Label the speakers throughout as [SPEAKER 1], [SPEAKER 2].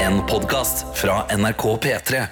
[SPEAKER 1] En podcast fra NRK P3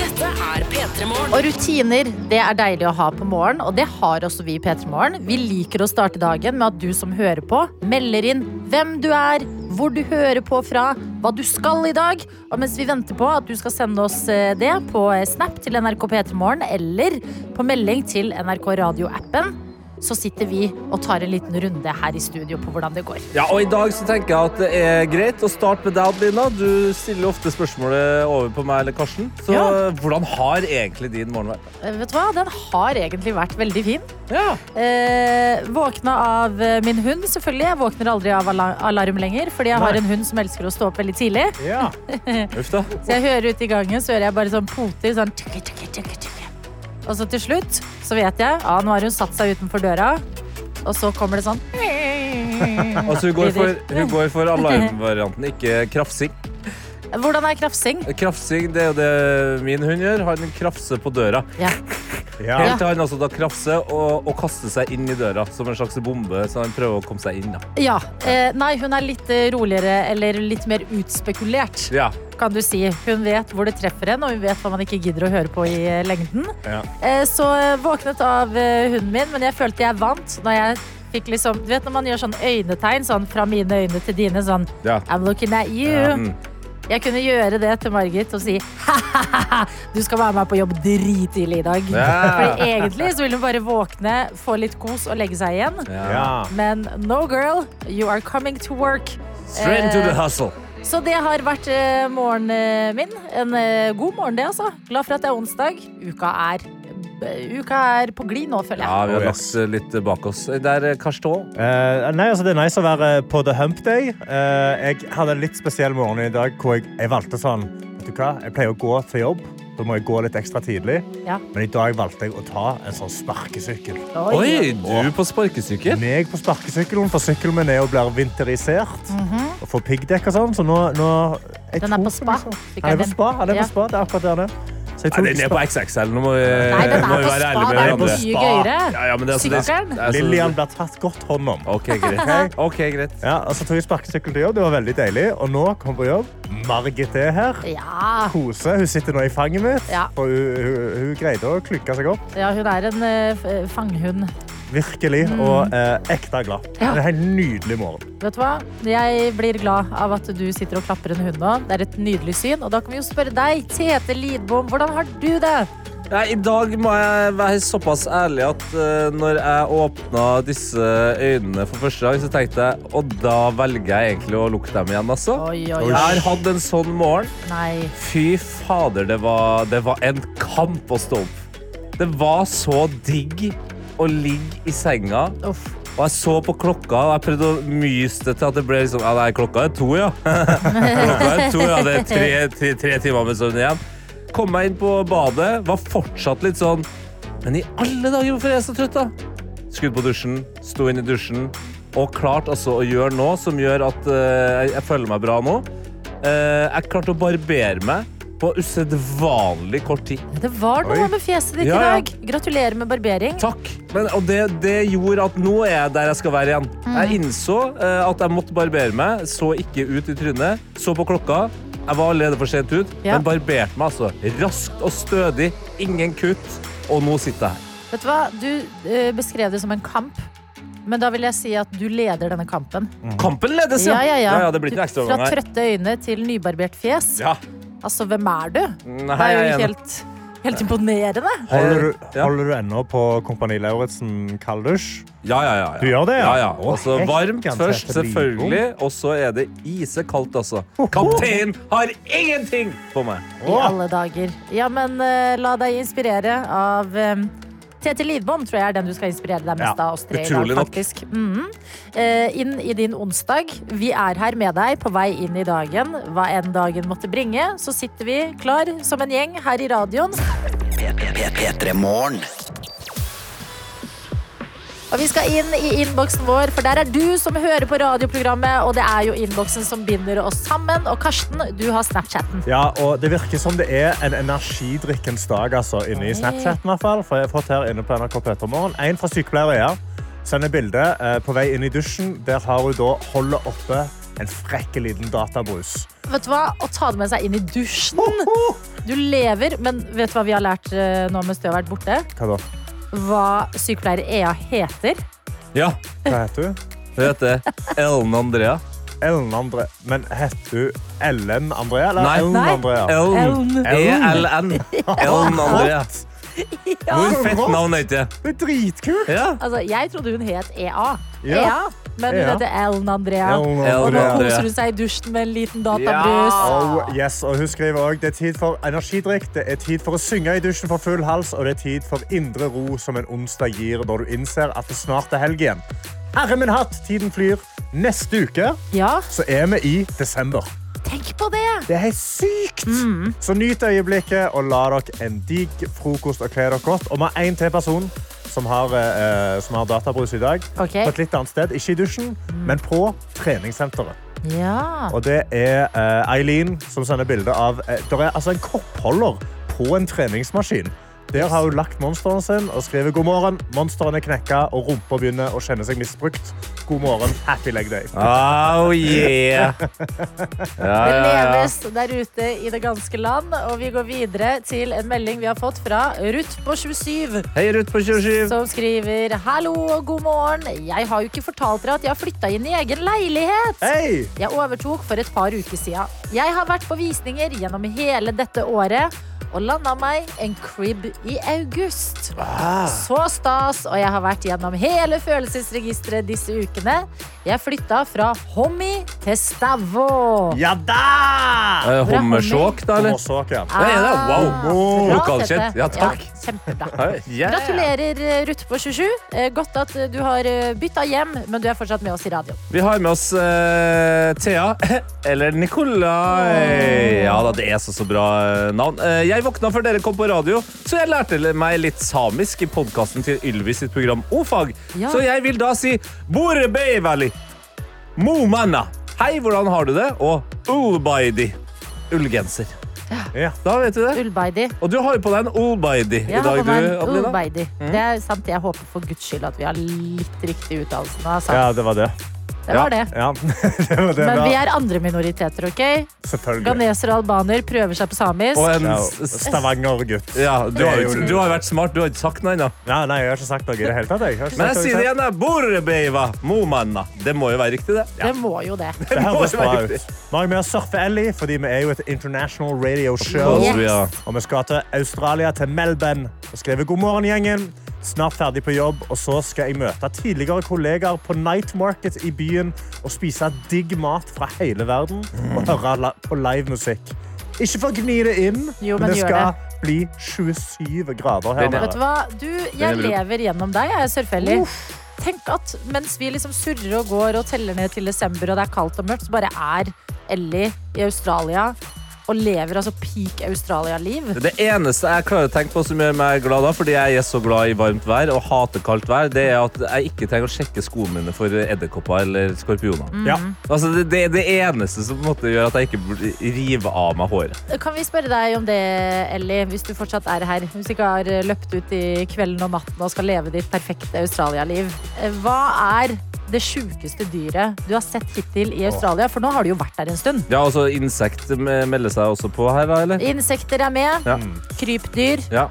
[SPEAKER 2] Dette er P3 Morgen.
[SPEAKER 3] Og rutiner det er deilig å ha på morgen, og det har også vi i P3 Morgen. Vi liker å starte dagen med at du som hører på, melder inn hvem du er, hvor du hører på fra, hva du skal i dag. Og mens vi venter på at du skal sende oss eh, det på eh, Snap til NRK P3 Morgen eller på melding til NRK Radio-appen, så sitter vi og tar en liten runde her i studio på hvordan det går.
[SPEAKER 4] Ja, og I dag så tenker jeg at det er greit å starte med deg, Adelina. Du stiller ofte spørsmålet over på meg eller Karsten. Så
[SPEAKER 3] Ja.
[SPEAKER 4] hvordan har egentlig din morgen vært?
[SPEAKER 3] Eh, Vet du hva? Den har egentlig vært veldig fin.
[SPEAKER 4] Ja.
[SPEAKER 3] Eh, våkna av eh, min hund, selvfølgelig. Jeg våkner aldri av ala- alarm lenger, fordi jeg har
[SPEAKER 4] Nei.
[SPEAKER 3] en hund som elsker å stå opp veldig tidlig.
[SPEAKER 4] Uff da.
[SPEAKER 3] Så jeg hører ute i gangen, så hører jeg bare sånn poter. Sånn tukke, tukke, tukke, tukke. Og så til slutt så vet jeg ja, nå har hun satt seg utenfor døra. Og så kommer det sånn
[SPEAKER 4] Altså, hun går for, hun går for alarmvarianten, ikke krafsing.
[SPEAKER 3] Hvordan er krafsing?
[SPEAKER 4] Krafsing det er jo det min hund gjør. Han krafser på døra.
[SPEAKER 3] Ja.
[SPEAKER 4] Helt til han altså da krafser og, og kaster seg inn i døra som en slags bombe. Så han prøver å komme seg inn. Da.
[SPEAKER 3] ja. Eh, nei, hun er litt eh, roligere eller litt mer utspekulert,
[SPEAKER 4] Ja.
[SPEAKER 3] kan du si. Hun vet hvor det treffer en, og hun vet hva man ikke gidder å høre på i eh, lengden.
[SPEAKER 4] Ja.
[SPEAKER 3] Eh, Så eh, våknet av eh, hunden min, men jeg følte jeg vant når jeg fikk liksom Du vet når man gjør sånn øynetegn sånn fra mine øyne til dine, sånn
[SPEAKER 4] ja.
[SPEAKER 3] I'm looking at you.
[SPEAKER 4] ja. Mm.
[SPEAKER 3] Jeg kunne gjøre det til Margit og si ha-ha-ha, du skal være med på jobb drittidlig i dag.
[SPEAKER 4] Ja.
[SPEAKER 3] Fordi egentlig så ville hun bare våkne, få litt kos og legge seg igjen.
[SPEAKER 4] ja.
[SPEAKER 3] Men no girl, you are coming to work.
[SPEAKER 4] Straight into the hustle.
[SPEAKER 3] Så det har vært eh, morgenen eh, min. En eh, god morgen, det, altså. Glad for at det er onsdag. Uka er, b- uka er på glid nå, føler
[SPEAKER 4] Ja,
[SPEAKER 3] jeg.
[SPEAKER 4] vi har
[SPEAKER 5] Oh,
[SPEAKER 4] lagt eh,
[SPEAKER 5] yes.
[SPEAKER 4] litt bak oss. Der, Karsten.
[SPEAKER 5] Eh, nei, altså Det er nice å være på The Hump Day. Eh, jeg hadde en litt spesiell morgen i dag hvor jeg, jeg valgte sånn Vet du hva, jeg pleier å gå til jobb. Da må jeg gå litt ekstra tidlig.
[SPEAKER 3] Ja.
[SPEAKER 5] Men i dag valgte jeg å ta en sånn sparkesykkel.
[SPEAKER 4] Oi, du på sparkesykkel?
[SPEAKER 5] Meg på sparkesykkelen, for sykkelen min er og blir vinterisert. Og får piggdekk og sånn, så nå, nå jeg
[SPEAKER 3] Mhm. Den er
[SPEAKER 5] tok
[SPEAKER 3] på spa.
[SPEAKER 5] liksom-
[SPEAKER 3] Fikk
[SPEAKER 5] Han er
[SPEAKER 3] jeg
[SPEAKER 5] på
[SPEAKER 3] den?
[SPEAKER 5] spa. Han er
[SPEAKER 3] Ja.
[SPEAKER 5] på spa. Det er akkurat der han er. Så jeg
[SPEAKER 4] Nei,
[SPEAKER 5] tok
[SPEAKER 4] den er på
[SPEAKER 5] spa-
[SPEAKER 4] XXL. Nå må vi,
[SPEAKER 3] Nei, den er
[SPEAKER 4] må vi
[SPEAKER 3] på spa.
[SPEAKER 4] være ærlige med
[SPEAKER 3] Det er
[SPEAKER 4] hverandre.
[SPEAKER 3] mye gøyere.
[SPEAKER 4] Ja, ja, men det, er altså, det, er-
[SPEAKER 3] Sykkelen.
[SPEAKER 4] det er så-
[SPEAKER 5] Lillian blir tatt godt hånd om.
[SPEAKER 4] OK, greit. Ok, greit.
[SPEAKER 5] Ja, og så tok jeg sparkesykkelen til jobb. Det var veldig deilig. Og nå kom jeg på jobb. Margit er her.
[SPEAKER 3] Ja.
[SPEAKER 5] Kose. Hun sitter nå i fanget mitt.
[SPEAKER 3] Ja.
[SPEAKER 5] Og hun, hun, hun greide å klynke seg opp.
[SPEAKER 3] ja, hun er en eh, f- fanghund.
[SPEAKER 5] Virkelig. Og eh, ekte glad.
[SPEAKER 3] Mm. Ja.
[SPEAKER 5] Det er en nydelig morgen.
[SPEAKER 3] Vet du hva? Jeg blir glad av at du sitter og klapper en hund nå. Det er et nydelig syn. Og da kan vi jo spørre deg, Tete Lidbom, hvordan har du det?
[SPEAKER 4] Nei, I dag må jeg være såpass ærlig at eh, når jeg åpna disse øynene for første gang, så tenkte jeg Og da velger jeg egentlig å lukke dem igjen, altså.
[SPEAKER 3] Oi, oi,
[SPEAKER 4] Jeg har hatt en sånn morgen.
[SPEAKER 3] Nei.
[SPEAKER 4] Fy fader, det var, det var en kamp å stå opp. Det var så digg å ligge i senga,
[SPEAKER 3] Uff.
[SPEAKER 4] og jeg så på klokka, og jeg prøvde å myse det til at det ble liksom Ja, nei, klokka er to, ja. klokka er to, ja. Det er tre, tre, tre timer med søvn igjen. Kom meg inn på badet, var fortsatt litt sånn Men i alle dager, hvorfor er jeg så trøtt, da? Skudd på dusjen, sto inn i dusjen, og klart altså å gjøre noe som gjør at eh, jeg, jeg føler meg bra nå. Eh, jeg klarte å barbere meg på usedvanlig kort tid.
[SPEAKER 3] Det var noe
[SPEAKER 5] Oi.
[SPEAKER 3] med fjeset ditt
[SPEAKER 4] Ja, ja.
[SPEAKER 3] i dag. Gratulerer med barbering.
[SPEAKER 4] Takk. Men, og det, det gjorde at nå er jeg der jeg skal være igjen.
[SPEAKER 3] Mm.
[SPEAKER 4] Jeg innså eh, at jeg måtte barbere meg, så ikke ut i trynet, så på klokka. Jeg var allerede for sent ut,
[SPEAKER 3] Ja.
[SPEAKER 4] men barberte meg altså raskt og stødig. Ingen kutt. Og nå sitter jeg her.
[SPEAKER 3] Vet du hva? Du eh, beskrev det som en kamp. Men da vil jeg si at du leder denne kampen.
[SPEAKER 4] Kampen ledes,
[SPEAKER 3] Mm. Ja, ja, ja.
[SPEAKER 4] ja, det blir
[SPEAKER 3] Du-
[SPEAKER 4] ikke noen
[SPEAKER 3] Fra
[SPEAKER 4] ekstraomgang her.
[SPEAKER 3] trøtte øyne til nybarbert fjes.
[SPEAKER 4] Ja.
[SPEAKER 3] Altså, hvem er du?
[SPEAKER 4] Nei,
[SPEAKER 3] Det er
[SPEAKER 4] jeg er
[SPEAKER 3] jo
[SPEAKER 4] enig.
[SPEAKER 3] helt, helt imponerende.
[SPEAKER 5] Holder du,
[SPEAKER 4] Ja.
[SPEAKER 5] holder du ennå på Kompani Lauritzen kalddusj?
[SPEAKER 4] Ja, ja, ja. ja.
[SPEAKER 5] Du gjør det, ja?
[SPEAKER 4] ja, ja.
[SPEAKER 5] Å,
[SPEAKER 4] Også
[SPEAKER 5] hekken,
[SPEAKER 4] varmt
[SPEAKER 5] tete
[SPEAKER 4] først,
[SPEAKER 5] Lidbom.
[SPEAKER 4] selvfølgelig. Og så er det isekaldt, altså. Kapteinen har ingenting på meg!
[SPEAKER 3] I alle dager. Ja, men eh, la deg inspirere av um, Tete Lidbom tror jeg er den du skal inspirere deg mest
[SPEAKER 5] Ja,
[SPEAKER 3] av oss tre i dag,
[SPEAKER 4] utrolig nok.
[SPEAKER 3] faktisk. Mhm. Eh, inn i din onsdag. Vi er her med deg på vei inn i dagen. Hva enn dagen måtte bringe, så sitter vi klar som en gjeng her i radioen.
[SPEAKER 1] P3 Morgen
[SPEAKER 3] Og vi skal inn i innboksen vår, for der er du som hører på radioprogrammet. Og det er jo innboksen som binder oss sammen. Og Karsten, du har Snapchatten.
[SPEAKER 5] Ja, og Det virker som det er en energidrikkens dag altså, inne i Snapchat. i hvert fall, for jeg har fått her inne på NRK Petermorgen. En fra sykepleiere ja. sender bilde eh, på vei inn i dusjen. Der har hun da holder oppe en frekk liten databrus.
[SPEAKER 3] Vet du hva? Å ta det med seg inn i dusjen. Du lever, men vet du hva vi har lært eh, nå mens du har vært borte?
[SPEAKER 5] Hva da?
[SPEAKER 3] Hva sykepleier Ea heter.
[SPEAKER 4] Ja,
[SPEAKER 5] Hva heter hun?
[SPEAKER 4] hun heter Ellen Andrea.
[SPEAKER 5] Ellen André. Men heter hun Ellen Andrea? Eller
[SPEAKER 4] Nei.
[SPEAKER 5] Ellen
[SPEAKER 3] Nei.
[SPEAKER 5] Andrea?
[SPEAKER 4] Ellen.
[SPEAKER 3] Ellen.
[SPEAKER 4] E-L-N. Ellen Andrea. Hvor fett navn er ikke det?
[SPEAKER 5] Det er dritkult!
[SPEAKER 4] Ja.
[SPEAKER 3] Altså, jeg trodde hun het EA.
[SPEAKER 5] Ja.
[SPEAKER 3] EA. Men hun
[SPEAKER 5] EA.
[SPEAKER 3] heter Ellen Andrea. Og
[SPEAKER 5] Ellen
[SPEAKER 3] nå
[SPEAKER 4] E Andrea.
[SPEAKER 3] koser hun seg i dusjen med en liten
[SPEAKER 4] Ja.
[SPEAKER 3] databrus.
[SPEAKER 5] Oh, yes, og hun skriver også, det er tid for energidrikk, det er tid for å synge i dusjen for full hals, og det er tid for indre ro som en onsdag gir når du innser at det snart er helg igjen. Herre min hatt, tiden flyr. Neste uke
[SPEAKER 3] Ja,
[SPEAKER 5] så er vi i desember.
[SPEAKER 3] tenk på det!
[SPEAKER 5] Det er helt sykt!
[SPEAKER 4] Mm.
[SPEAKER 5] Så nyt øyeblikket og la dere en digg frokost og kle dere godt. Og vi har én til person som har, eh, som har databrus i dag.
[SPEAKER 3] Ok.
[SPEAKER 5] På et litt annet sted. Ikke i dusjen,
[SPEAKER 4] Mm.
[SPEAKER 5] men på treningssenteret.
[SPEAKER 3] Ja.
[SPEAKER 5] Og det er eh, Eileen som sender bilde av eh, Der er altså en koppholder på en treningsmaskin. Der har hun lagt monsteren sin og skriver god morgen. Monsteren er knekka, og rumpa begynner å kjenne seg misbrukt. God morgen, happy leg day.
[SPEAKER 4] Oh yeah. Ja,
[SPEAKER 3] Det
[SPEAKER 4] ja, ja.
[SPEAKER 3] leves der ute i det ganske land, og vi går videre til en melding vi har fått fra Ruth på 27,
[SPEAKER 4] Hei, Ruth på 27.
[SPEAKER 3] som skriver Hallo og god morgen. Jeg har jo ikke fortalt dere at jeg har flytta inn i egen leilighet.
[SPEAKER 5] Hei!
[SPEAKER 3] Jeg overtok for et par uker siden. Jeg har vært på visninger gjennom hele dette året og landa meg en crib i august. Så stas, og jeg har vært gjennom hele følelsesregisteret disse ukene. Jeg flytta fra Hommi til Stavå.
[SPEAKER 5] Ja da!
[SPEAKER 4] Eh, Hommersåk, da, eller?
[SPEAKER 5] Hommersåk, ja.
[SPEAKER 4] Nei, det er wow.
[SPEAKER 3] Ah, Bra,
[SPEAKER 4] Lokalkjent.
[SPEAKER 3] Tete.
[SPEAKER 4] Ja, takk.
[SPEAKER 3] kjempebra.
[SPEAKER 4] Hei, yeah.
[SPEAKER 3] Gratulerer, Ruth på 27. Eh, Godt at eh, du har bytta hjem, men du er fortsatt med oss i radioen.
[SPEAKER 4] Vi har med oss eh, Thea, eller Nikolai. Ja da, det er så, så bra eh, navn. Eh, jeg våkna før dere kom på radio, så jeg lærte le- meg litt samisk i podkasten til Ylvis sitt program O-fag.
[SPEAKER 3] Ja.
[SPEAKER 4] Så jeg vil da si Bore beivali, momana. Hei, hvordan har du det? Og ulbaidi. Ullgenser.
[SPEAKER 5] Ja.
[SPEAKER 4] Da vet du det.
[SPEAKER 3] Ulbaidi.
[SPEAKER 4] Og du har jo på deg en ulbaidi
[SPEAKER 3] Jeg
[SPEAKER 4] i dag,
[SPEAKER 3] har på meg
[SPEAKER 4] du,
[SPEAKER 3] en
[SPEAKER 4] Adelina.
[SPEAKER 3] Ubaidi. Det er sant. Jeg håper for guds skyld at vi har litt riktig uttalelse. nå, Altså.
[SPEAKER 5] ja, det var det.
[SPEAKER 3] det var det.
[SPEAKER 5] Ja, det var det.
[SPEAKER 3] Men
[SPEAKER 5] da.
[SPEAKER 3] vi er andre minoriteter, OK?
[SPEAKER 5] Selvfølgelig.
[SPEAKER 3] Ganesere og albaner prøver seg på samisk.
[SPEAKER 4] Og en
[SPEAKER 5] Ja,
[SPEAKER 4] s- s-
[SPEAKER 5] Stavanger-gutt.
[SPEAKER 4] ja, du, har, jo-
[SPEAKER 5] Det er jo-
[SPEAKER 4] du har vært smart. Du har ikke sagt noe ennå.
[SPEAKER 5] Nei, nei, jeg har ikke sagt noe i det hele tatt. Jeg. Jeg har ikke
[SPEAKER 4] Men jeg
[SPEAKER 5] sagt
[SPEAKER 4] sier det igjen.
[SPEAKER 5] noe i
[SPEAKER 4] da. Borbeiva momanna. Det må jo være riktig, det.
[SPEAKER 3] Det må jo det.
[SPEAKER 5] det hele tatt. Det høres
[SPEAKER 4] må jo
[SPEAKER 5] bra
[SPEAKER 4] være
[SPEAKER 5] ut.
[SPEAKER 4] riktig.
[SPEAKER 5] Nå er vi med å surfe Ellie, fordi vi er jo et international radio show.
[SPEAKER 3] Yes.
[SPEAKER 4] Ja.
[SPEAKER 5] Og vi skal til Australia, til Melbourne, og skrive god morgen, gjengen. Snart ferdig på jobb, og så skal jeg møte tidligere kollegaer på Night Market i byen og spise digg mat fra hele verden
[SPEAKER 4] Mm.
[SPEAKER 5] og høre la- på livemusikk. Ikke for å gni det inn,
[SPEAKER 3] Jo, men
[SPEAKER 5] men det
[SPEAKER 3] gjør
[SPEAKER 5] skal bli 27 grader her
[SPEAKER 4] Den er-
[SPEAKER 3] Vet du
[SPEAKER 5] nede.
[SPEAKER 3] hva? Du,
[SPEAKER 4] er
[SPEAKER 3] jeg
[SPEAKER 4] bra.
[SPEAKER 3] lever gjennom deg, jeg, Sørfelli. Tenk at mens vi liksom surrer og går og teller ned til desember, og det er kaldt og mørkt, så bare er Ellie i Australia og lever altså peak Australia-liv.
[SPEAKER 4] Det eneste jeg klarer å tenke på som gjør meg glad, da, fordi jeg er så glad i varmt vær og hater kaldt vær, det er at jeg ikke trenger å sjekke skoene mine for edderkopper eller skorpioner.
[SPEAKER 5] Ja.
[SPEAKER 3] Mm.
[SPEAKER 4] Altså, det, det er det eneste som på en måte gjør at jeg ikke burde rive av meg håret.
[SPEAKER 3] Kan vi spørre deg om det, Ellie, hvis du fortsatt er her? Hvis du ikke har eh, løpt ut i kvelden og natten og skal leve ditt perfekte Australia-liv. Eh, Hva er det sjukeste dyret du har sett hittil i Australia? For nå har du jo vært der en stund.
[SPEAKER 4] Ja, altså Insekt me- melder seg også på her, da, eller?
[SPEAKER 3] Insekter er med.
[SPEAKER 4] Ja.
[SPEAKER 5] Mm.
[SPEAKER 3] Krypdyr.
[SPEAKER 4] Ja.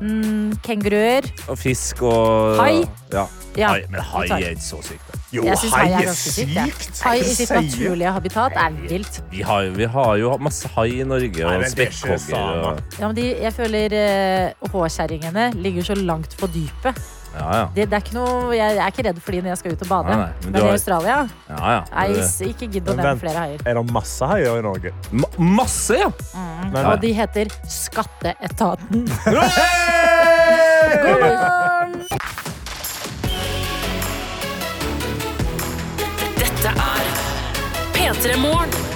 [SPEAKER 3] Mm, kenguruer.
[SPEAKER 4] Og fisk og
[SPEAKER 3] Hai?
[SPEAKER 4] Ja.
[SPEAKER 3] Ja,
[SPEAKER 4] Hai. Men hai
[SPEAKER 3] vi tar.
[SPEAKER 4] er ikke så sykt. da.
[SPEAKER 5] Jo,
[SPEAKER 3] Jeg syns hai er ganske sykt. jeg. Hai i sitt
[SPEAKER 5] Sier-
[SPEAKER 3] naturlige habitat er vilt.
[SPEAKER 4] Vi har, jo- vi har jo masse hai i Norge,
[SPEAKER 5] Nei,
[SPEAKER 4] og
[SPEAKER 5] men det er ikke
[SPEAKER 4] spekkhoggere.
[SPEAKER 5] samer.
[SPEAKER 4] og-
[SPEAKER 3] Ja, men de, jeg føler eh, håkjerringene ligger så langt på dypet.
[SPEAKER 4] Ja, ja.
[SPEAKER 3] Det, det er ikke noe, jeg, jeg er ikke redd for de når jeg skal ut og bade.
[SPEAKER 4] Nei, nei,
[SPEAKER 3] men
[SPEAKER 4] men du har- eh,
[SPEAKER 3] i Australia
[SPEAKER 4] ja, ja.
[SPEAKER 3] Nei, s- ikke gidd å
[SPEAKER 5] Men
[SPEAKER 3] nevne
[SPEAKER 5] vent.
[SPEAKER 3] flere haier.
[SPEAKER 5] Er det masse haier i Norge?
[SPEAKER 3] Mm.
[SPEAKER 4] Ma- masse, ja!
[SPEAKER 5] Nei,
[SPEAKER 3] Og de heter Skatteetaten.
[SPEAKER 4] Hey!
[SPEAKER 3] God morgen!
[SPEAKER 2] Dette er P3 Morgen.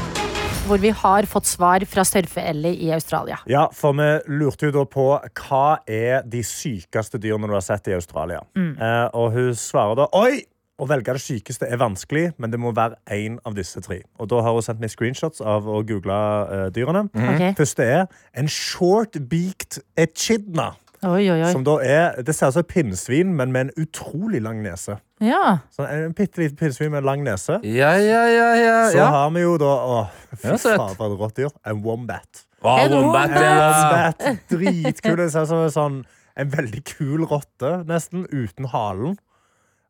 [SPEAKER 3] hvor vi har fått svar fra surfe-Ellie i Australia.
[SPEAKER 5] Ja, for vi lurte jo da på hva er de sykeste dyrene du har sett i Australia.
[SPEAKER 3] Mm.
[SPEAKER 5] Eh, og hun svarer da Oi! Å velge det sykeste er vanskelig, men det må være én av disse tre. Og da har hun sendt meg screenshots av å google eh, dyrene.
[SPEAKER 3] Mm. Ok.
[SPEAKER 5] Første er en short-beaked echidna.
[SPEAKER 3] Oi, oi, oi.
[SPEAKER 5] Som da er, det ser ut som et pinnsvin, men med en utrolig lang nese.
[SPEAKER 3] Ja.
[SPEAKER 5] Sånn, en bitte liten pinnsvin med en lang nese.
[SPEAKER 4] Ja, ja, ja, ja.
[SPEAKER 5] Så
[SPEAKER 4] ja.
[SPEAKER 5] har vi jo da Å, fy
[SPEAKER 4] Ja, søt.
[SPEAKER 5] faen, for et rått dyr. En wombat.
[SPEAKER 4] Wow,
[SPEAKER 3] En
[SPEAKER 4] wombat,
[SPEAKER 3] wombat.
[SPEAKER 4] ja.
[SPEAKER 5] Wombat. Dritkul. Det ser ut som en sånn En veldig kul rotte, nesten, uten halen.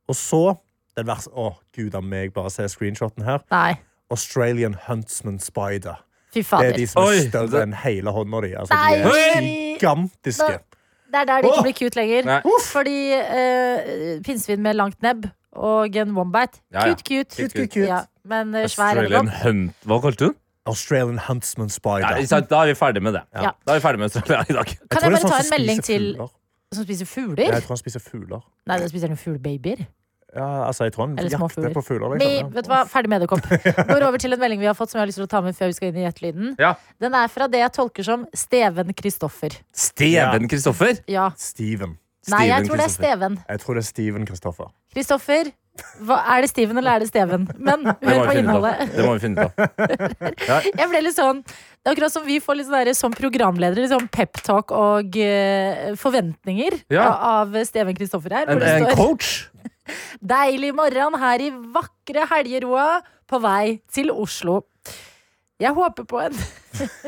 [SPEAKER 5] Og så den verste Å, gud a meg, bare se screenshoten her.
[SPEAKER 3] Nei.
[SPEAKER 5] Australian Huntsman Spider.
[SPEAKER 3] Fy
[SPEAKER 5] Det er
[SPEAKER 3] fader.
[SPEAKER 5] de som er
[SPEAKER 4] Oi,
[SPEAKER 5] større
[SPEAKER 4] det-
[SPEAKER 5] enn hele hånda di. Altså, de er
[SPEAKER 4] Nei!
[SPEAKER 5] gigantiske.
[SPEAKER 3] Det er der det
[SPEAKER 5] Åh!
[SPEAKER 3] ikke blir cute lenger.
[SPEAKER 4] Nei.
[SPEAKER 3] Fordi eh, pinnsvin med langt nebb og en wombat.
[SPEAKER 4] Ja, ja.
[SPEAKER 3] Cute, cute.
[SPEAKER 5] Cute, cute, cute.
[SPEAKER 3] Ja, men eh, svær er det
[SPEAKER 4] Australian
[SPEAKER 3] godt.
[SPEAKER 4] Hunt... Hva kalte du den?
[SPEAKER 5] Australian Huntsman
[SPEAKER 4] Nei,
[SPEAKER 5] Spider.
[SPEAKER 4] ikke sant, Da er vi ferdig med det.
[SPEAKER 3] Ja.
[SPEAKER 4] Da er vi ferdig med Australia i dag.
[SPEAKER 3] Kan
[SPEAKER 5] tror
[SPEAKER 3] jeg
[SPEAKER 5] det er
[SPEAKER 3] bare ta
[SPEAKER 5] sånn
[SPEAKER 3] en
[SPEAKER 5] som
[SPEAKER 3] melding
[SPEAKER 5] spiser
[SPEAKER 3] til
[SPEAKER 5] fugler.
[SPEAKER 3] som spiser
[SPEAKER 5] Ja,
[SPEAKER 3] fugler?
[SPEAKER 5] Jeg tror han spiser fugler.
[SPEAKER 3] Nei, den spiser noen fuglebabyer.
[SPEAKER 5] Ja, altså, jeg tror han
[SPEAKER 3] Eller små
[SPEAKER 5] jakter
[SPEAKER 3] fugler.
[SPEAKER 5] på fugler.
[SPEAKER 3] Vi,
[SPEAKER 5] Liksom.
[SPEAKER 3] vet du hva, Ferdig med edderkopp. Går over til en melding vi har fått som jeg har lyst til å ta med før vi skal inn i gjettelyden.
[SPEAKER 4] Ja.
[SPEAKER 3] Den er fra det jeg tolker som Steven Kristoffer.
[SPEAKER 4] Steven Kristoffer.
[SPEAKER 3] Ja.
[SPEAKER 5] Steven.
[SPEAKER 3] Nei, jeg
[SPEAKER 4] Steven
[SPEAKER 3] tror det er
[SPEAKER 4] Christopher.
[SPEAKER 3] Steven.
[SPEAKER 5] Jeg tror det er Steven Kristoffer.
[SPEAKER 3] Kristoffer. Hva, er det Steven eller er det Steven? Men
[SPEAKER 4] Det må
[SPEAKER 3] hør
[SPEAKER 4] vi
[SPEAKER 3] på
[SPEAKER 4] finne ut av.
[SPEAKER 3] innholdet.
[SPEAKER 4] Det må vi finne ut av.
[SPEAKER 3] Jeg ble litt sånn Det er akkurat som vi får litt sånn der, som programledere litt sånn peptalk og eh, forventninger
[SPEAKER 4] Ja.
[SPEAKER 3] av Steven Kristoffer her. hvor
[SPEAKER 4] En,
[SPEAKER 3] det
[SPEAKER 4] en
[SPEAKER 3] står-
[SPEAKER 4] coach.
[SPEAKER 3] Deilig morgen her i vakre helgeroa på vei til Oslo. Jeg håper på en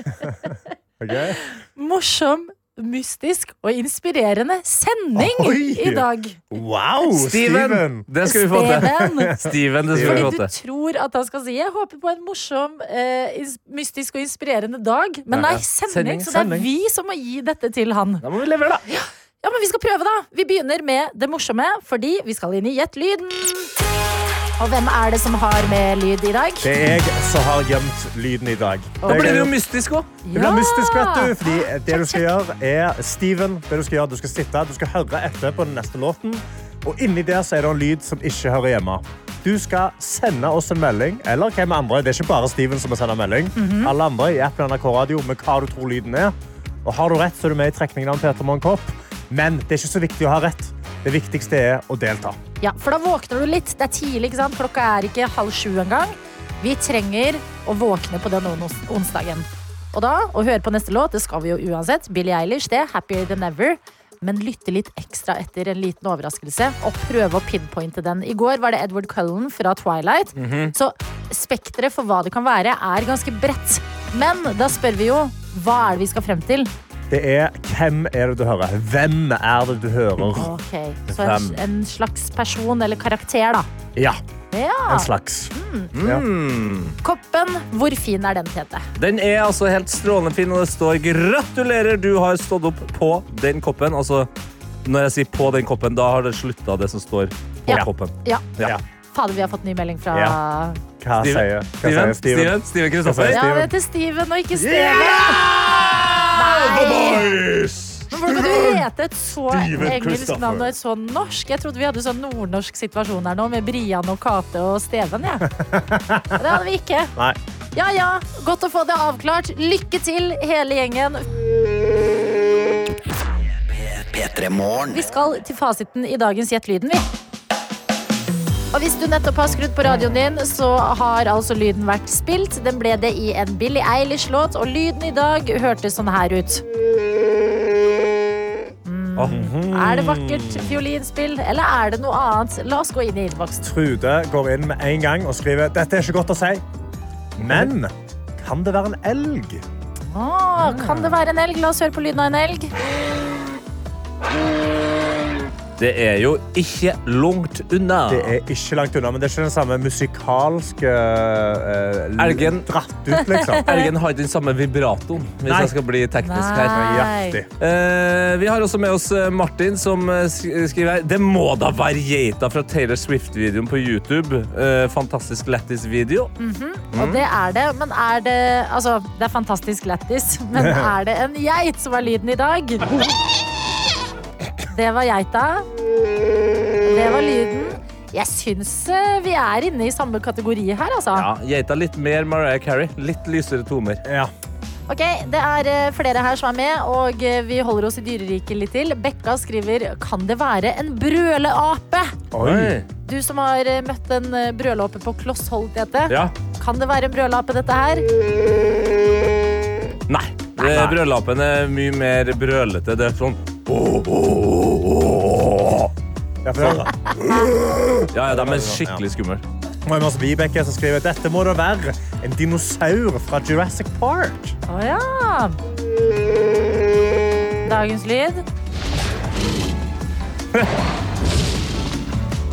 [SPEAKER 5] Okay.
[SPEAKER 3] morsom, mystisk og inspirerende sending
[SPEAKER 5] Oi!
[SPEAKER 3] i dag.
[SPEAKER 5] Wow,
[SPEAKER 4] Steven! Det skal vi få til.
[SPEAKER 3] Steven!
[SPEAKER 4] Steven, det skal vi
[SPEAKER 3] Fordi
[SPEAKER 4] få
[SPEAKER 3] du
[SPEAKER 4] til.
[SPEAKER 3] tror at han skal si 'jeg håper på en morsom, eh, ins- mystisk og inspirerende dag'. Men nei, sending,
[SPEAKER 4] Sending,
[SPEAKER 3] så det er
[SPEAKER 4] sending.
[SPEAKER 3] vi som må gi dette til han.
[SPEAKER 4] Da må vi levere, da.
[SPEAKER 3] Ja, men vi skal prøve, da. Vi begynner med det morsomme, fordi vi skal inn i Gjett lyden. Og hvem er det som har med lyd i dag?
[SPEAKER 5] Det er jeg som har gjemt lyden i dag.
[SPEAKER 4] Da
[SPEAKER 5] Jeg-
[SPEAKER 4] blir det jo mystisk òg.
[SPEAKER 5] Det blir mystisk, vet du. Fordi det du skal gjøre, er Steven, det du skal gjøre, du skal sitte, du skal høre etter på den neste låten. Og inni der så er det en lyd som ikke hører hjemme. Du skal sende oss en melding, eller hvem andre. Det er ikke bare Steven som må sende melding. Alle andre i appen NRK Radio med hva du tror lyden er. Og har du rett, så er du med i trekningen av en Peter Moen-kopp. Men det er ikke så viktig å ha rett. Det viktigste er å delta.
[SPEAKER 3] Ja, for da våkner du litt. Det er tidlig, ikke sant? Klokka er ikke halv sju engang. Vi trenger å våkne på den on- onsdagen. Og da, å høre på neste låt, det skal vi jo uansett. Billie Eilish, det. Happier than ever. Men lytte litt ekstra etter en liten overraskelse, og prøve å pinpointe den. I går var det Edward Cullen fra Twilight. Så spekteret for hva det kan være, er ganske bredt. Men da spør vi jo hva er det vi skal frem til?
[SPEAKER 5] Det er hvem er det du hører? Hvem er det du hører?
[SPEAKER 3] Ok, Så en, en slags person eller karakter, da.
[SPEAKER 5] Ja,
[SPEAKER 3] Ja.
[SPEAKER 5] en slags. Ja.
[SPEAKER 3] Koppen, hvor fin er den, Tete?
[SPEAKER 4] Den er altså helt strålende fin, og det står 'Gratulerer, du har stått opp på den koppen'. Altså, når jeg sier 'på den koppen', da har det slutta, det som står på
[SPEAKER 3] Ja.
[SPEAKER 4] koppen.
[SPEAKER 3] Ja,
[SPEAKER 5] Ja.
[SPEAKER 3] fader, vi har fått ny melding fra
[SPEAKER 5] Ja. Hva sier
[SPEAKER 4] Steven,
[SPEAKER 5] hva sier Steven?
[SPEAKER 4] Steven, Steven Kristoffer.
[SPEAKER 5] Hva
[SPEAKER 3] Ja,
[SPEAKER 5] Steven.
[SPEAKER 3] det heter Steven og ikke Steven. Nei! Men hvordan kan du hete et så engelsk
[SPEAKER 5] Christopher.
[SPEAKER 3] navn og et så norsk? Jeg trodde vi hadde sånn nordnorsk situasjon her nå, med Brian og Kate og Steven, jeg. Men Det hadde vi ikke.
[SPEAKER 5] Nei.
[SPEAKER 3] Ja ja, godt å få det avklart. Lykke til, hele gjengen.
[SPEAKER 1] P3 Morgen.
[SPEAKER 3] Vi skal til fasiten i dagens Gjett lyden, vi. Og hvis du nettopp har skrudd på radioen din, så har altså lyden vært spilt. Den ble det i en Billie Eilish-låt, og lyden i dag hørtes sånn her ut. Mm.
[SPEAKER 4] Åh,
[SPEAKER 3] Er det vakkert fiolinspill, eller er det noe annet? La oss gå inn i innboksen.
[SPEAKER 5] Trude går inn med en gang og skriver dette er ikke godt å si. Men kan det være en elg?
[SPEAKER 3] Å, kan det være en elg? La oss høre på lyden av en elg.
[SPEAKER 4] det er jo ikke langt unna.
[SPEAKER 5] Det er ikke langt unna, men det er ikke den samme musikalske eh, l-
[SPEAKER 4] Elgen.
[SPEAKER 5] dratt ut, liksom.
[SPEAKER 4] Elgen har ikke den samme vibratoen, hvis
[SPEAKER 5] Nei.
[SPEAKER 4] jeg skal bli teknisk her.
[SPEAKER 5] Nøyaktig.
[SPEAKER 4] Eh, vi har også med oss eh, Martin, som eh, sk- skriver her Det må da være geita fra Taylor Swift-videoen på YouTube. Eh, fantastisk lættis video. Mm.
[SPEAKER 3] Og det er det, men er det Altså, det er fantastisk lættis, men er det en geit som er lyden i dag? Det var geita. Det var lyden. Jeg syns eh, vi er inne i samme kategori her, altså.
[SPEAKER 4] Ja, Geita litt mer Mariah Carey. Litt lysere toner.
[SPEAKER 5] Ja.
[SPEAKER 3] Ok, Det er eh, flere her som er med, og eh, vi holder oss i dyreriket litt til. Bekka skriver Kan det være en brøleape?
[SPEAKER 5] Oi.
[SPEAKER 3] Du som har eh, møtt en eh, brøleape på Kloss Holt, Tete.
[SPEAKER 4] Ja.
[SPEAKER 3] Kan det være en brøleape, dette her?
[SPEAKER 4] Nei. Eh, Brødlappen er mye mer brølete. Det er sånn
[SPEAKER 5] Ja, for det er-
[SPEAKER 4] Ja, ja, de er skikkelig skumle.
[SPEAKER 5] Nå er vi hos Vibeke som skriver dette må da være en dinosaur fra Jurassic Park.
[SPEAKER 3] Å ja. Dagens lyd.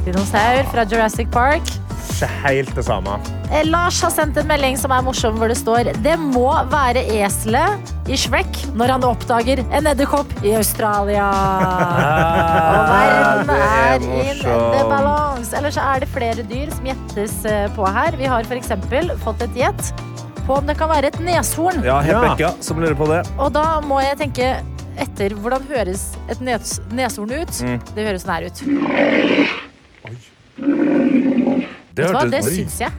[SPEAKER 3] Dinosaur fra Jurassic Park.
[SPEAKER 5] Ikke helt det samme.
[SPEAKER 3] Eh, Lars har sendt en melding som er morsom, hvor det står Det må være eselet i Shrek når han oppdager en edderkopp i Australia.
[SPEAKER 4] Ah,
[SPEAKER 3] Og verden er in the balance. Eller så er det flere dyr som gjettes eh, på her. Vi har f.eks. fått et gjett på om det kan være et neshorn.
[SPEAKER 4] Ja,
[SPEAKER 5] Ja.
[SPEAKER 4] Hebekka som lurer på det.
[SPEAKER 3] Og da må jeg tenke etter hvordan høres et nes neshorn ut.
[SPEAKER 4] Mm.
[SPEAKER 3] Det høres sånn her ut. Vet
[SPEAKER 4] Det
[SPEAKER 3] du hva? Det
[SPEAKER 4] hørtes- Oi.
[SPEAKER 3] syns jeg.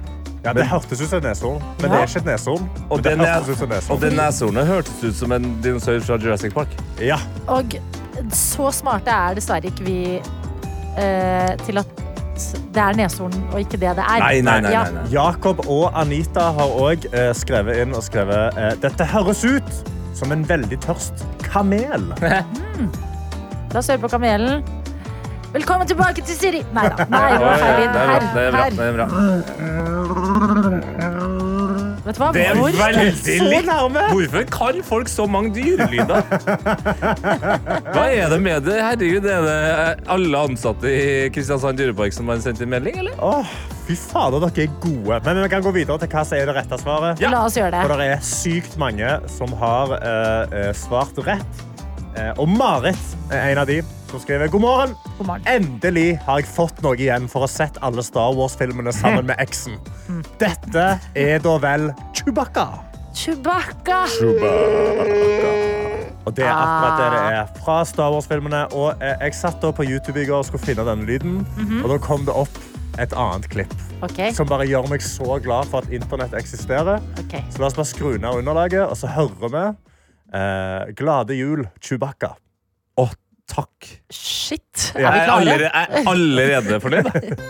[SPEAKER 5] Ja, Det hørtes ut som et neshorn, men det er ikke et neshorn.
[SPEAKER 4] Og
[SPEAKER 5] Men det
[SPEAKER 4] den er-
[SPEAKER 5] hørtes ut som et neshorn.
[SPEAKER 4] Og det neshornet hørtes ut som en dinosaur fra Jurassic Park.
[SPEAKER 5] Ja.
[SPEAKER 3] Og så smarte er dessverre ikke vi eh, til at det er neshorn og ikke det det er.
[SPEAKER 4] Nei, nei, nei,
[SPEAKER 3] Ja.
[SPEAKER 4] nei, nei.
[SPEAKER 5] Jakob og Anita har òg eh, skrevet inn og skrevet eh, dette høres ut som en veldig tørst kamel.
[SPEAKER 3] La oss høre på kamelen. Velkommen tilbake til Siri. Nei da. Nei,
[SPEAKER 4] Oi,
[SPEAKER 3] det var feil
[SPEAKER 4] det er
[SPEAKER 3] lyd.
[SPEAKER 4] bra. Det er
[SPEAKER 3] Her,
[SPEAKER 4] bra.
[SPEAKER 3] her.
[SPEAKER 4] Det er bra.
[SPEAKER 3] Vet du hva?
[SPEAKER 4] Det er
[SPEAKER 3] Hvor-
[SPEAKER 4] veldig
[SPEAKER 5] Så
[SPEAKER 4] likt.
[SPEAKER 5] nærme!
[SPEAKER 4] Hvorfor kan folk så mange dyrelyder? Hva er det med det? Herregud, er det alle ansatte i Kristiansand dyrepark som har sendt inn melding, eller?
[SPEAKER 5] Åh, fy fader, dere er gode. Men vi kan gå videre til hva som er det rette svaret.
[SPEAKER 4] Ja.
[SPEAKER 3] La oss gjøre
[SPEAKER 5] For
[SPEAKER 3] det.
[SPEAKER 5] det er sykt mange som har eh, eh, svart rett. Eh, og Marit er en av de som skriver god morgen.
[SPEAKER 3] God morgen.
[SPEAKER 5] Endelig har jeg fått noe igjen for å ha sett alle Star Wars-filmene sammen med eksen.
[SPEAKER 4] Mm.
[SPEAKER 5] Dette er da vel Chewbacca.
[SPEAKER 3] Chewbacca.
[SPEAKER 5] Og det er akkurat det det
[SPEAKER 3] Ah.
[SPEAKER 5] er fra Star Wars-filmene. Og eh, jeg satt da på YouTube i går og skulle finne den lyden, og da kom det opp et annet klipp.
[SPEAKER 3] Mhm. Ok,
[SPEAKER 5] Som bare gjør meg så glad for at internett eksisterer.
[SPEAKER 3] ok.
[SPEAKER 5] Så la oss bare skru ned underlaget, og så hører vi eh, Glade jul, Chewbacca.
[SPEAKER 4] Å, takk.
[SPEAKER 3] Shit. Er
[SPEAKER 5] Jeg
[SPEAKER 3] vi
[SPEAKER 4] Jeg er
[SPEAKER 3] klare?
[SPEAKER 4] allerede, jeg er allerede fornøyd. da.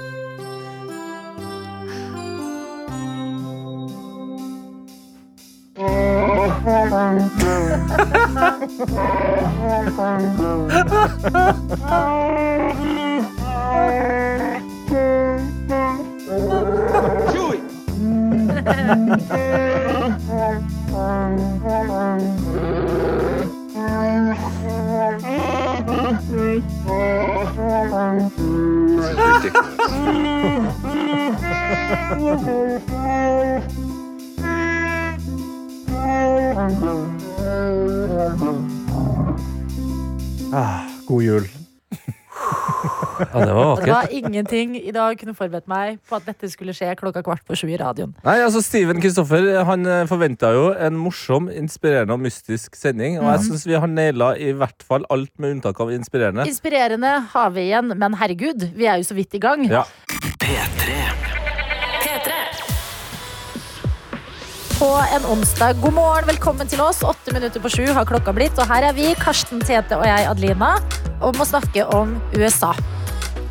[SPEAKER 5] Ah, god jul.
[SPEAKER 4] Ja, det var
[SPEAKER 3] Det var ingenting i dag kunne forberedt meg på at dette skulle skje klokka kvart på sju i radioen.
[SPEAKER 4] Nei, altså Steven Kristoffer han forventa jo en morsom, inspirerende og mystisk sending. Og jeg syns vi har naila i hvert fall alt med unntak av inspirerende.
[SPEAKER 3] Inspirerende har vi igjen, men herregud, vi er jo så vidt i gang.
[SPEAKER 4] Ja.
[SPEAKER 2] P3.
[SPEAKER 3] På en onsdag. God morgen, velkommen til oss. Åtte minutter på sju har klokka blitt, og her er vi, Karsten Tete og jeg, Adelina, om å snakke om USA.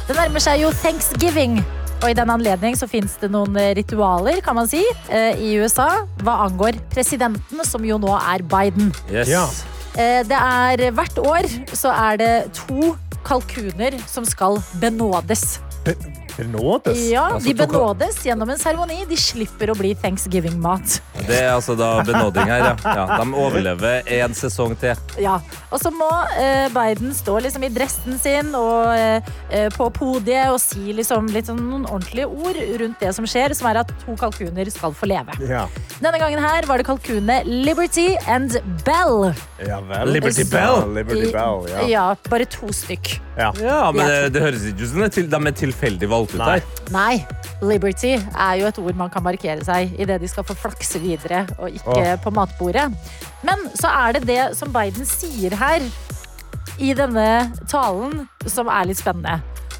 [SPEAKER 3] Det nærmer seg jo thanksgiving. Og i den anledning så fins det noen eh, ritualer kan man si, eh, i USA hva angår presidenten, som jo nå er Biden.
[SPEAKER 4] Yes.
[SPEAKER 5] Ja.
[SPEAKER 3] Eh, Det er Hvert år så er det to kalkuner som skal benådes.
[SPEAKER 5] Det nådes.
[SPEAKER 3] Ja,
[SPEAKER 4] Altså,
[SPEAKER 3] De
[SPEAKER 4] to kal-
[SPEAKER 3] benådes gjennom en seremoni. De slipper å bli thanksgiving-mat.
[SPEAKER 4] Det er altså da benåding her, ja. ja de overlever én sesong til.
[SPEAKER 3] Ja, Og så må eh, Biden stå liksom i dressen sin og eh, eh, på podiet og si liksom litt sånn noen ordentlige ord rundt det som skjer, som er at to kalkuner skal få leve.
[SPEAKER 5] Ja.
[SPEAKER 3] Denne gangen her var det kalkunene Liberty and Bell.
[SPEAKER 5] Ja vel.
[SPEAKER 4] Liberty Bell.
[SPEAKER 5] Liberty Bell, ja.
[SPEAKER 3] ja, bare to stykk.
[SPEAKER 5] ja.
[SPEAKER 4] Ja, men det, det høres ikke ut som det er til, de er tilfeldig valgt ut
[SPEAKER 5] Nei.
[SPEAKER 4] her.
[SPEAKER 3] Nei, Liberty er jo et ord man kan markere seg i det de skal få flakse videre og ikke
[SPEAKER 5] Åh.
[SPEAKER 3] på matbordet. Men så er det det som Biden sier her i denne talen som er litt spennende.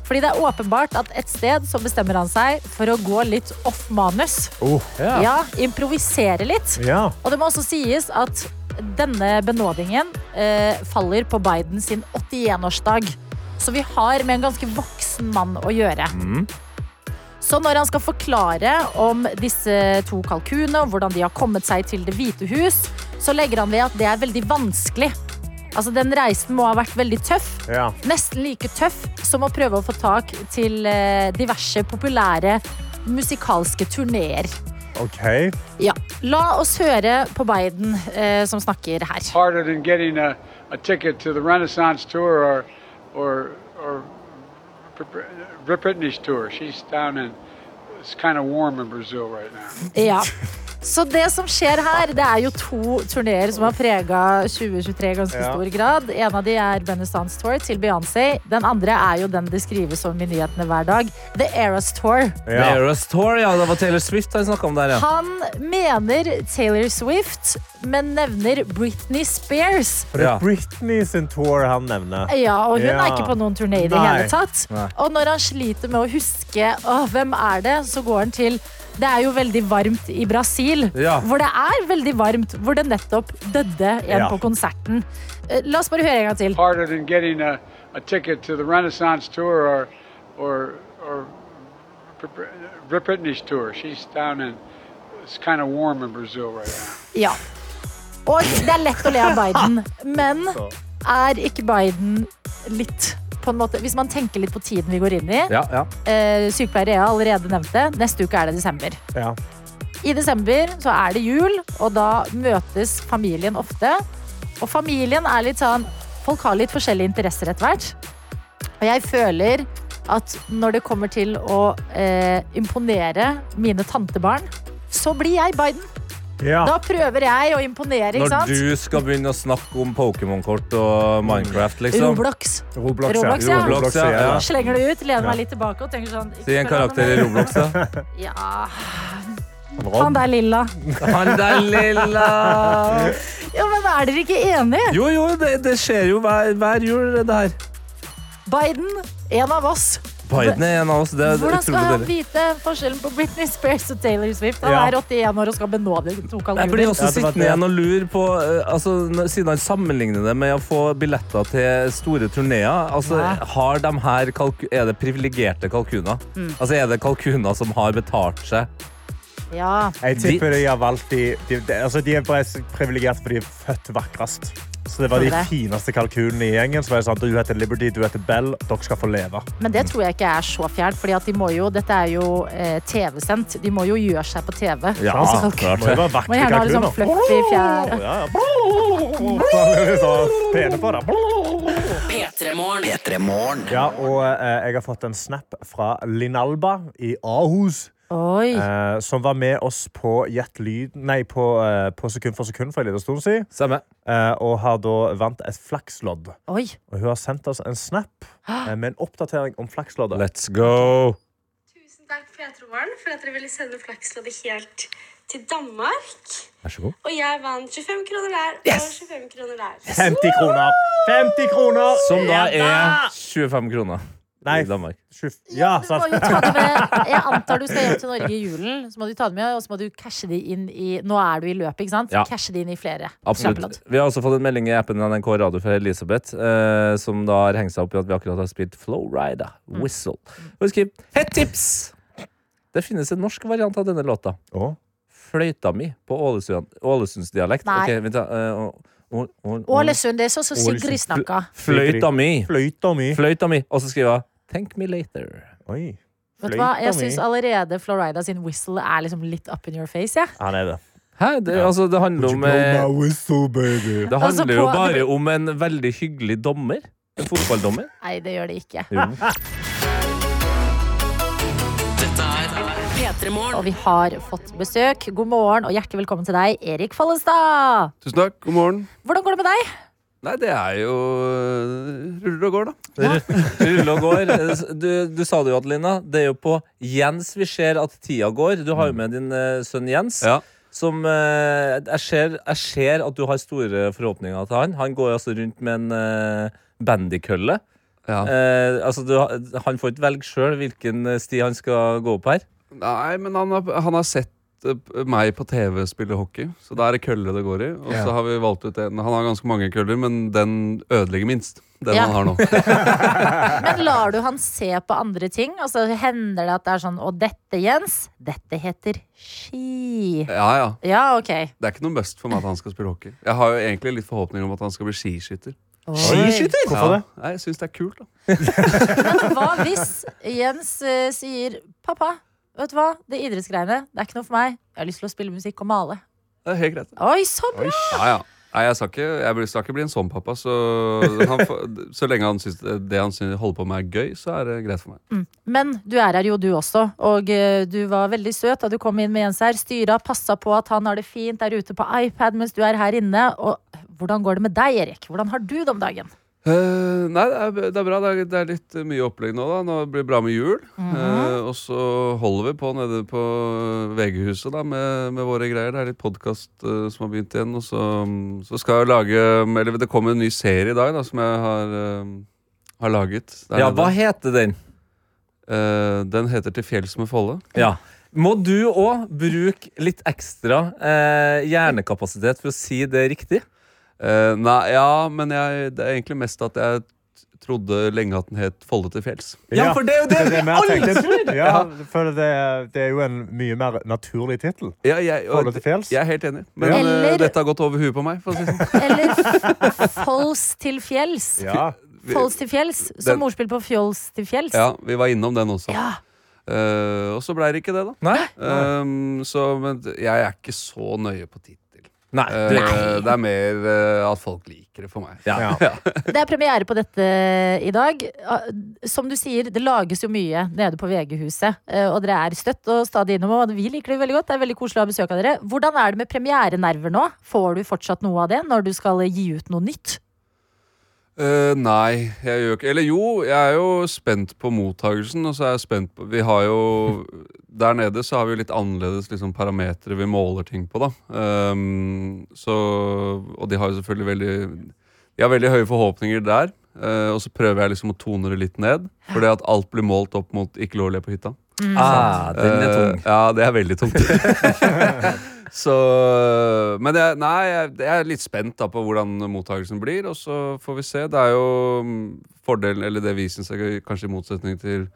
[SPEAKER 3] Fordi det er åpenbart at et sted så bestemmer han seg for å gå litt off manus.
[SPEAKER 4] Ja.
[SPEAKER 3] Ja, improvisere litt.
[SPEAKER 5] Oh. Ja.
[SPEAKER 3] Og det må også sies at denne benådingen eh, faller på Biden sin 81-årsdag. Så vi har med en ganske voksen mann å gjøre. Så når han skal forklare om disse to kalkunene og hvordan de har kommet seg til Det hvite hus, så legger han ved at det er veldig vanskelig. Altså, Den reisen må ha vært veldig tøff.
[SPEAKER 5] Ja.
[SPEAKER 3] Nesten like tøff som å prøve å få tak til eh, diverse populære musikalske turneer.
[SPEAKER 5] OK.
[SPEAKER 3] Ja. La oss høre på Biden eh, som snakker her.
[SPEAKER 6] harder than getting a, a ticket to the Renaissance tour or or or Br- Br- Britney's tour. She's down in it's kind of warm in Brazil right now.
[SPEAKER 3] Ja. Så det som skjer her, det er jo to turneer som har prega 2023 i ganske
[SPEAKER 5] Ja.
[SPEAKER 3] stor grad. En av de er Renaissance Tour til Beyoncé. Den andre er jo den det skrives om i nyhetene hver dag. The Eras Tour.
[SPEAKER 4] Ja.
[SPEAKER 5] Ja.
[SPEAKER 4] Eras Tour, ja. Det var Taylor Swift han snakka om der, ja.
[SPEAKER 3] Han mener Taylor Swift, men nevner Britney Spears.
[SPEAKER 5] For det
[SPEAKER 4] Ja.
[SPEAKER 5] er Britney sin tour han nevner.
[SPEAKER 3] Ja, og hun
[SPEAKER 5] Ja.
[SPEAKER 3] er ikke på noen turné i det
[SPEAKER 5] Nei.
[SPEAKER 3] hele tatt.
[SPEAKER 4] Nei.
[SPEAKER 3] Og når han sliter med å huske åh, hvem er det, så går han til det er jo veldig varmt i Brasil,
[SPEAKER 4] Ja.
[SPEAKER 3] hvor det er veldig varmt, hvor det nettopp døde en
[SPEAKER 5] Ja.
[SPEAKER 3] på konserten. Eh, La oss bare høre en gang til.
[SPEAKER 6] Harder than getting a, a ticket to the Renaissance tour or or or Br- Br- Britney's tour. She's down in it's kind of warm in Brazil right now.
[SPEAKER 3] Ja. Og det er lett å le av Biden, men er ikke Biden litt på en måte, Hvis man tenker litt på tiden vi går inn i
[SPEAKER 4] Ja, ja.
[SPEAKER 3] eh, Sykepleiere jeg allerede nevnte, neste uke er det desember.
[SPEAKER 5] Ja.
[SPEAKER 3] I desember så er det jul, og da møtes familien ofte. Og familien er litt sånn Folk har litt forskjellige interesser etter hvert. Og jeg føler at når det kommer til å eh, imponere mine tantebarn, så blir jeg Biden.
[SPEAKER 5] Ja.
[SPEAKER 3] Da prøver jeg å imponere, ikke
[SPEAKER 4] Når
[SPEAKER 3] sant?
[SPEAKER 4] du skal begynne å snakke om Pokémon-kort og Minecraft, liksom.
[SPEAKER 3] Roblox.
[SPEAKER 5] Roblox,
[SPEAKER 3] Roblox, ja.
[SPEAKER 4] Roblox, ja, ja.
[SPEAKER 3] Slenger det ut, lener
[SPEAKER 5] Ja.
[SPEAKER 3] meg litt tilbake og tenker sånn ikke
[SPEAKER 4] Si
[SPEAKER 3] spør han
[SPEAKER 4] en
[SPEAKER 3] om
[SPEAKER 4] karakter i
[SPEAKER 3] det.
[SPEAKER 4] Roblox, da.
[SPEAKER 3] Ja, han
[SPEAKER 5] Rob.
[SPEAKER 3] der lilla.
[SPEAKER 4] Han der lilla
[SPEAKER 3] Ja, men er dere ikke enige?
[SPEAKER 4] Jo, jo, det, det skjer jo hver, hver jul, det her.
[SPEAKER 3] Biden, en av oss.
[SPEAKER 4] Biden er en av oss. Det er
[SPEAKER 3] Hvordan skal
[SPEAKER 4] utrolig
[SPEAKER 3] han
[SPEAKER 4] deilig.
[SPEAKER 3] vite forskjellen på Britney Spears og Taylor Swift? Han
[SPEAKER 5] Ja.
[SPEAKER 3] er 81 år og skal benåde to
[SPEAKER 4] Jeg blir
[SPEAKER 3] kalkuler.
[SPEAKER 4] også
[SPEAKER 5] Ja, det var
[SPEAKER 4] sittende
[SPEAKER 5] det.
[SPEAKER 4] igjen og lure på eh, altså, n- Siden han sammenligner det med å få billetter til store turneer altså,
[SPEAKER 3] Ja.
[SPEAKER 4] har de her kalku Er det privilegerte kalkuner?
[SPEAKER 3] Mm.
[SPEAKER 4] Altså, er det kalkuner som har betalt seg?
[SPEAKER 3] Ja.
[SPEAKER 5] Jeg tipper de har valgt de, de, de, altså de er bare privilegert fordi de er født vakrest. Så det var de
[SPEAKER 3] Tror det.
[SPEAKER 5] fineste kalkunene i gjengen. Så var det sånn, Du heter Liberty, du heter Bell. Dere skal få leve.
[SPEAKER 3] Men det tror jeg ikke er så fjernt, for de må jo, dette er jo eh, TV-sendt. De må jo gjøre seg på TV. Altså, kalk-
[SPEAKER 5] Det må jo være
[SPEAKER 3] Må
[SPEAKER 5] vakre
[SPEAKER 3] gjerne ha litt sånn
[SPEAKER 5] kalkuner.
[SPEAKER 3] fluffy fjær.
[SPEAKER 5] Ja, ja. Så Sånn, Pene på det.
[SPEAKER 2] P3morgen.
[SPEAKER 1] P3 Morgen.
[SPEAKER 5] Ja, og eh, jeg har fått en snap fra Linalba i Ahus.
[SPEAKER 3] Oi.
[SPEAKER 5] Eh, som var med oss på Gjett lyd Nei, på, eh, på Sekund for sekund for en liten stund siden.
[SPEAKER 4] Samme.
[SPEAKER 5] Eh, og har da vant et flakslodd.
[SPEAKER 3] Oi.
[SPEAKER 5] Og hun har sendt oss en snap eh, med en oppdatering om flaksloddet.
[SPEAKER 4] Let's go!
[SPEAKER 7] Tusen takk Petrobarn, for at dere ville sende flaksloddet helt til Danmark.
[SPEAKER 4] Vær så god.
[SPEAKER 7] Og jeg vant 25 kroner der og 25 kroner der.
[SPEAKER 5] 50 kroner! 50 kroner!
[SPEAKER 4] Som da er 25 kroner
[SPEAKER 5] Nei,
[SPEAKER 4] i Danmark.
[SPEAKER 5] tjue- ja,
[SPEAKER 3] Du må
[SPEAKER 5] sant.
[SPEAKER 3] jo ta det med. Jeg antar du skal hjem til Norge i julen, så må du ta det med, og så må du cashe de inn i Nå er du i løpet, ikke sant?
[SPEAKER 4] Ja.
[SPEAKER 3] Cashe de inn i flere.
[SPEAKER 4] Absolutt.
[SPEAKER 3] Kjempelodd.
[SPEAKER 4] Vi har også fått en melding i appen NRK Radio fra Elisabeth, eh, som da har hengt seg opp i at vi akkurat har spilt Flowrider,
[SPEAKER 3] Mm.
[SPEAKER 4] Whistle. Og hun skriver Hett tips! Det finnes en norsk variant av denne låta.
[SPEAKER 5] Å.
[SPEAKER 4] Fløyta mi på Ålesund, Ålesundsdialekt.
[SPEAKER 3] Nei.
[SPEAKER 4] Ok, vent da, eh, å- å- å- å-
[SPEAKER 3] Ålesund, det er sånn som Sigrid snakka.
[SPEAKER 4] Fløyta mi!
[SPEAKER 5] Fløyta mi.
[SPEAKER 4] Fløyta mi! Og så skriver hun Thank me later.
[SPEAKER 5] Oi.
[SPEAKER 3] Vet du hva? Jeg
[SPEAKER 5] Fløyta mi.
[SPEAKER 3] syns allerede Florida sin whistle er liksom litt up in your face, jeg. Ja.
[SPEAKER 5] Han er det.
[SPEAKER 4] Hæ? Det, altså, det handler om eh,
[SPEAKER 5] whistle, baby.
[SPEAKER 4] Det
[SPEAKER 3] Altså,
[SPEAKER 4] handler jo
[SPEAKER 3] på-
[SPEAKER 4] bare om en veldig hyggelig dommer. En fotballdommer.
[SPEAKER 3] Nei, det gjør det ikke.
[SPEAKER 2] P3morgen.
[SPEAKER 3] Og vi har fått besøk. God morgen og hjertelig velkommen til deg, Erik Follestad.
[SPEAKER 8] Tusen takk, god morgen.
[SPEAKER 3] Hvordan går det med deg?
[SPEAKER 8] Nei, det er jo øh, Ruller og går, da.
[SPEAKER 4] Rulle og går. Du, du sa det jo, Adelina. Det er jo på Jens vi ser at tida går. Du har jo med din eh, sønn Jens.
[SPEAKER 8] Mm. Ja.
[SPEAKER 4] Som eh, jeg, ser, jeg ser at du har store forhåpninger til han. Han går jo altså rundt med en eh, øh, bandykølle.
[SPEAKER 8] Ja.
[SPEAKER 4] Eh, altså, du, han får ikke velge sjøl hvilken eh, sti han skal gå opp her.
[SPEAKER 8] Nei, men han har, han har sett eh, p- meg på TV spille hockey, så da er det kølle det går i. Og så har vi valgt ut en. Han har ganske mange køller, men den ødelegger minst. Den
[SPEAKER 3] Ja.
[SPEAKER 8] han har nå.
[SPEAKER 3] Men lar du han se på andre ting? Og så hender det at det er sånn Og dette, Jens, dette heter ski.
[SPEAKER 8] Ja, ja.
[SPEAKER 3] Ja, ok.
[SPEAKER 8] Det er ikke noe must for meg at han skal spille hockey. Jeg har jo egentlig litt forhåpninger om at han skal bli skiskytter.
[SPEAKER 5] Skiskytter? Hvorfor
[SPEAKER 8] ja.
[SPEAKER 5] det?
[SPEAKER 8] Nei, Jeg syns det er kult, da.
[SPEAKER 3] Men hva hvis Jens eh, sier Pappa, vet du hva? Det idrettsgreiene, det er ikke noe for meg. Jeg har lyst til å spille musikk og male.
[SPEAKER 8] Det er helt greit.
[SPEAKER 3] Oi, sånn, så bra!
[SPEAKER 8] Ja, ja. Nei, jeg skal ikke, jeg blir- skal ikke bli en sånn pappa. Så, han, får- så lenge han syns det han syns, holder på med, er gøy, så er det greit for meg.
[SPEAKER 3] Men du er her jo, du også. Og eh, du var veldig søt da du kom inn med Jens her. Styra passa på at han har det fint der ute på iPad mens du er her inne. Og hvordan går det med deg, Erik? Hvordan har du det om dagen?
[SPEAKER 8] Eh, nei, det er, det er bra. Det er, det er litt eh, mye opplegg nå. da Nå blir det bra med jul. Eh, og så holder vi på nede på eh, VG-huset da med, med våre greier. Det er litt podkast som har begynt igjen. Og så, mm, så skal jeg lage Eller det kommer en ny serie i dag da som jeg har, eh, har laget. der
[SPEAKER 4] Ja,
[SPEAKER 8] nede.
[SPEAKER 4] hva heter den?
[SPEAKER 8] Eh, den heter 'Til fjells med Folle'.
[SPEAKER 4] Ja. Må du òg bruke litt ekstra eh, hjernekapasitet for å si det riktig?
[SPEAKER 8] Eh, nei, ja, men jeg, det er egentlig mest at jeg t- trodde lenge at den het 'Folle til fjells'.
[SPEAKER 4] Ja, for det er jo det vi
[SPEAKER 5] mer
[SPEAKER 4] alle
[SPEAKER 5] tenkte. Ja, for det, er- det er jo en mye mer naturlig tittel.
[SPEAKER 8] Ja, jeg, og-
[SPEAKER 5] Folle til fjells?
[SPEAKER 8] jeg er helt enig, men
[SPEAKER 3] Ja.
[SPEAKER 8] eh,
[SPEAKER 3] Eller-
[SPEAKER 8] dette har gått over huet på meg. For å si det sånn.
[SPEAKER 3] Eller Fols til fjells?
[SPEAKER 5] Ja.
[SPEAKER 8] sånn.
[SPEAKER 3] Fols til fjells?
[SPEAKER 8] Den-
[SPEAKER 3] Som ordspill på fjols til fjells?
[SPEAKER 8] Ja, vi var innom den også.
[SPEAKER 3] Ja.
[SPEAKER 8] Eh, og så blei det ikke det, da.
[SPEAKER 4] Nei?
[SPEAKER 8] Ehm, så, men d- jeg er ikke så nøye på tittel.
[SPEAKER 4] Nei.
[SPEAKER 8] Eh,
[SPEAKER 4] du-
[SPEAKER 8] det er mer eh, at folk liker det for meg.
[SPEAKER 4] Ja.
[SPEAKER 5] Ja.
[SPEAKER 3] Det er premiere på dette i dag. Som du sier, det lages jo mye nede på VG-huset. eh, Og dere er støtt og stadig innom, og vi liker det veldig godt. Det er veldig koselig å ha besøk av dere. Hvordan er det med premierenerver nå? Får du fortsatt noe av det når du skal gi ut noe nytt?
[SPEAKER 8] Eh, nei, jeg gjør ikke Eller jo, jeg er jo spent på mottagelsen. Og så er jeg spent på Vi har jo Der nede så har vi jo litt annerledes liksom, parametere vi måler ting på, da. Ehm, så Og de har jo selvfølgelig veldig De har veldig høye forhåpninger der. eh, og så prøver jeg liksom å tone det litt ned. Fordi at alt blir målt opp mot ikke lov å le på hytta.
[SPEAKER 4] Ah, den er tung.
[SPEAKER 8] Eh, ja, det er veldig tungt. så Men jeg, nei, jeg, jeg er litt spent da på hvordan mottakelsen blir, og så får vi se. Det er jo mm, fordelen, eller det vi syns er gøy, kanskje i motsetning til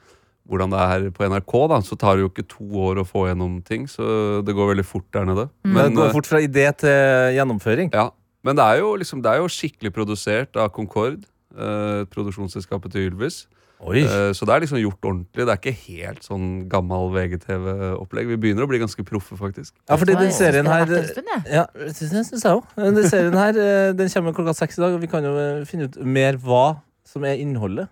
[SPEAKER 8] hvordan det er her på NRK, da, så tar det jo ikke to år å få gjennom ting. Så det går veldig fort der nede.
[SPEAKER 4] Men Mm. det
[SPEAKER 8] eh,
[SPEAKER 4] går fort fra idé til gjennomføring.
[SPEAKER 8] ja. Men det er, jo, liksom, det er jo skikkelig produsert av Concorde, eh, produksjonsselskapet til Ylvis.
[SPEAKER 4] Oi.
[SPEAKER 8] Eh, Så det er liksom gjort ordentlig. Det er ikke helt sånn gammel VGTV-opplegg. Vi begynner å bli ganske proffe, faktisk.
[SPEAKER 4] Ja, fordi den
[SPEAKER 3] Jeg
[SPEAKER 4] serien
[SPEAKER 3] synes det har
[SPEAKER 4] her eh,
[SPEAKER 3] vært en stund, jeg.
[SPEAKER 4] ja, det syns jeg òg. Den serien her eh, den kommer klokka seks i dag, og vi kan jo eh, finne ut mer hva som er innholdet.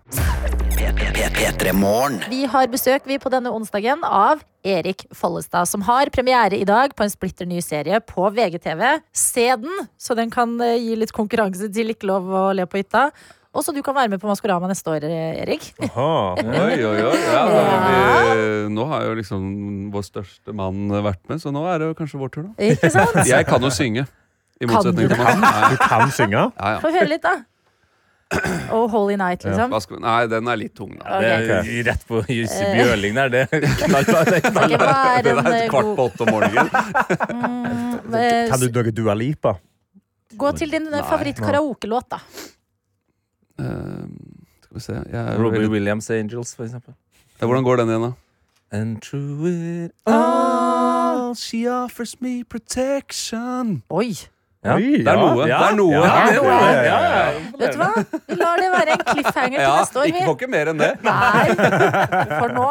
[SPEAKER 1] P3 Morgen.
[SPEAKER 3] Vi har besøk vi på denne onsdagen av Erik Follestad, som har premiere i dag på en splitter ny serie på VGTV. Se den, så den kan eh, gi litt konkurranse til Ikke lov å le på hytta. Og så du kan være med på Maskorama neste år, eh, Erik.
[SPEAKER 5] Aha.
[SPEAKER 8] Oi, oi, oi. Ja, da er vi, nå har jo liksom vår største mann vært med, så nå er det jo kanskje vår tur, da.
[SPEAKER 3] Ikke sant?
[SPEAKER 8] Jeg kan jo synge. I motsetning
[SPEAKER 3] du
[SPEAKER 8] til meg. Nei,
[SPEAKER 5] Du kan synge?
[SPEAKER 8] ja, ja.
[SPEAKER 3] Få høre litt, da. Oh, Holy Night, liksom.
[SPEAKER 8] Hva skal vi- Nei, den er litt tung, da.
[SPEAKER 3] Ok.
[SPEAKER 4] Det er rett på Jussi Bjørling der. Det er knallbart. det er knallbart.
[SPEAKER 3] Ok, hva er
[SPEAKER 8] Det
[SPEAKER 3] en
[SPEAKER 8] er
[SPEAKER 3] eh,
[SPEAKER 8] et kvart
[SPEAKER 3] god
[SPEAKER 8] på åtte om morgenen.
[SPEAKER 3] eh,
[SPEAKER 5] Kan du noe Dua Lipa?
[SPEAKER 3] Gå til din eh, favoritt-karaokelåt, da.
[SPEAKER 8] Eh, skal vi se jeg er jo
[SPEAKER 4] Robbie
[SPEAKER 8] veldig...
[SPEAKER 4] Williams' Angels, for eksempel.
[SPEAKER 8] Hvordan går den igjen, da?
[SPEAKER 4] And through it
[SPEAKER 8] Oh, she offers me protection.
[SPEAKER 3] Oi.
[SPEAKER 4] Ja,
[SPEAKER 5] Oi,
[SPEAKER 4] det er
[SPEAKER 5] ja.
[SPEAKER 4] noe.
[SPEAKER 5] Ja.
[SPEAKER 4] Det er noe.
[SPEAKER 5] Ja,
[SPEAKER 4] det er noe.
[SPEAKER 5] ja, ja,
[SPEAKER 3] Vet du hva? Vi lar det være en cliffhanger til
[SPEAKER 8] Ja,
[SPEAKER 3] neste år,
[SPEAKER 8] ikke
[SPEAKER 3] vi.
[SPEAKER 8] får ikke mer enn det.
[SPEAKER 3] Nei, for nå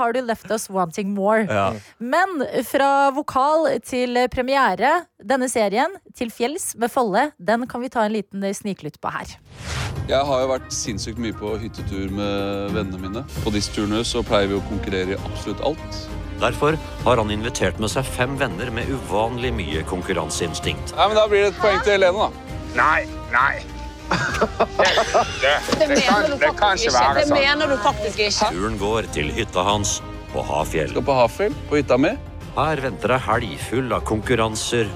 [SPEAKER 3] har du left us wanting more. Men fra vokal til premiere, denne serien, til fjells med Folle, den kan vi ta en liten eh, sniklytt på her.
[SPEAKER 8] Jeg har jo vært sinnssykt mye på hyttetur med vennene mine. På disse turene så pleier vi å konkurrere i absolutt alt.
[SPEAKER 9] Derfor har han invitert med seg fem venner med uvanlig mye konkurranseinstinkt.
[SPEAKER 8] Nei, men Da blir det et poeng til Helene, da.
[SPEAKER 6] Det kan ikke være sånn.
[SPEAKER 9] Turen går til hytta hans på Hafjell.
[SPEAKER 8] Skal på Hafjell, på hytta mi.
[SPEAKER 9] Her venter ei helg full av konkurranser,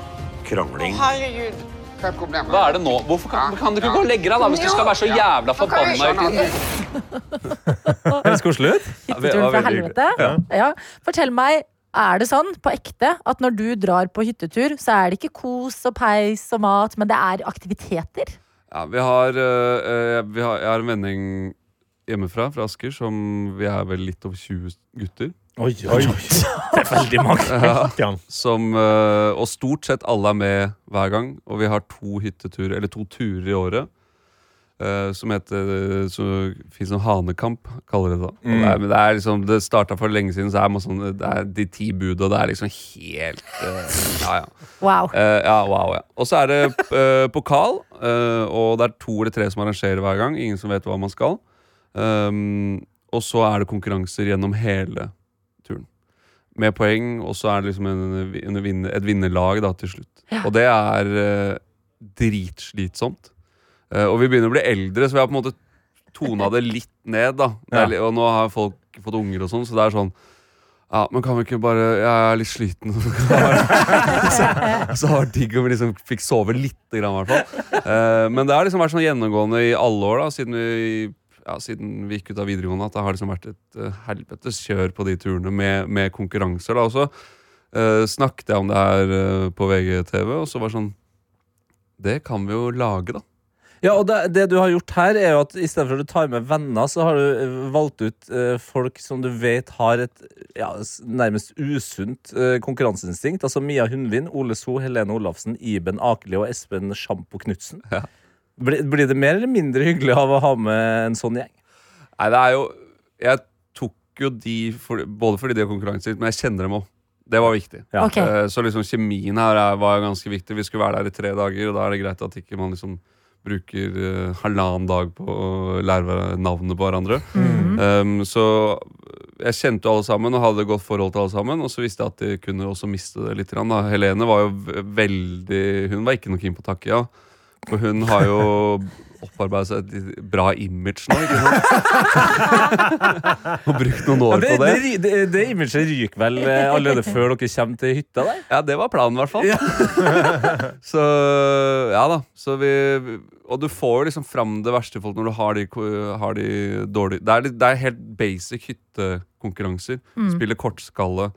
[SPEAKER 9] krangling
[SPEAKER 10] Hva er problemet?
[SPEAKER 11] Hva er det nå? Hvorfor kan, kan du ikke gå og legge deg da, hvis du skal være så jævla forbanna hele tiden?
[SPEAKER 4] Høres koselig ut.
[SPEAKER 3] Hytteturen fra helvete. Ja. Fortell meg, er det sånn på ekte at når du drar på hyttetur, så er det ikke kos og peis og mat, men det er aktiviteter?
[SPEAKER 8] Ja, vi har, eh, eh, vi har, jeg har en vending hjemmefra, fra Asker, som vi er vel litt over 20 gutter.
[SPEAKER 5] Oi, oi, oi. Det er veldig mange.
[SPEAKER 8] Ja, som, eh, og stort sett alle er med hver gang. Og vi har to hytteturer, eller to turer i året. eh, som heter så fins som hanekamp, kaller de det da. Og det, er, men det, er liksom, det starta for lenge siden, så er man sånn, det er de ti buda. Det er liksom helt eh, Ja, ja.
[SPEAKER 3] Wow.
[SPEAKER 8] Eh, ja, wow, ja. Og så er det eh, pokal, eh, og det er to eller tre som arrangerer hver gang. Ingen som vet hva man skal. Um, og så er det konkurranser gjennom hele turen. Med poeng, og så er det liksom en, en vinner, et vinnerlag da, til slutt. Og det er eh, dritslitsomt. Eh, og vi begynner å bli eldre, så vi har på en måte tona det litt ned. da Det
[SPEAKER 4] Ja.
[SPEAKER 8] er li- Og nå har folk fått unger og sånn, så det er sånn ja, men kan vi ikke bare Jeg er litt sliten. Så det var digg om vi liksom fikk sove litt, grann, i hvert fall. Eh, men det har liksom vært sånn gjennomgående i alle år, da, siden vi, ja, siden vi gikk ut av videregående, at det har liksom vært et eh, helvetes kjør på de turene med, med konkurranser. da, Og så eh, snakket jeg om det her eh, på VGTV, og så var det sånn Det kan vi jo lage, da.
[SPEAKER 4] Ja, og det, det du har gjort her, er jo at i stedet for at du tar med venner, så har du eh, valgt ut eh, folk som du vet har et ja, s- nærmest usunt eh, konkurranseinstinkt. Altså Mia Hundvin, Ole So, Helene Olafsen, Iben Akeli og Espen Sjampo Knutsen.
[SPEAKER 8] Ja.
[SPEAKER 4] Blir, blir det mer eller mindre hyggelig av å ha med en sånn gjeng?
[SPEAKER 8] Nei, det er jo Jeg tok jo de for, både fordi de har konkurranser, men jeg kjenner dem òg. Det var viktig.
[SPEAKER 4] Ja.
[SPEAKER 3] Ok.
[SPEAKER 8] Eh, Så liksom kjemien her er, var jo ganske viktig. Vi skulle være der i tre dager, og da er det greit at ikke man liksom bruker eh, halvannen dag på å lære hver- navnet på hverandre. Um, så jeg kjente jo alle sammen og hadde et godt forhold til alle sammen. Og så visste jeg at de kunne også miste det litt. grann, Da. Helene var jo v- veldig Hun var ikke noe keen på takke, ja. For hun har jo opparbeidet seg et litt bra image nå, ikke sant? og brukt noen år
[SPEAKER 4] det,
[SPEAKER 8] på det.
[SPEAKER 4] det, det, det imaget ryker vel eh, allerede før dere kommer til hytta der?
[SPEAKER 8] Ja, det var planen, i hvert fall. så ja da. Så vi, og du får jo liksom fram det verste i folk når du har de, ko- har de dårlige det er, litt- det er helt basic hyttekonkurranser.
[SPEAKER 3] Mm.
[SPEAKER 8] Spille kortskalle,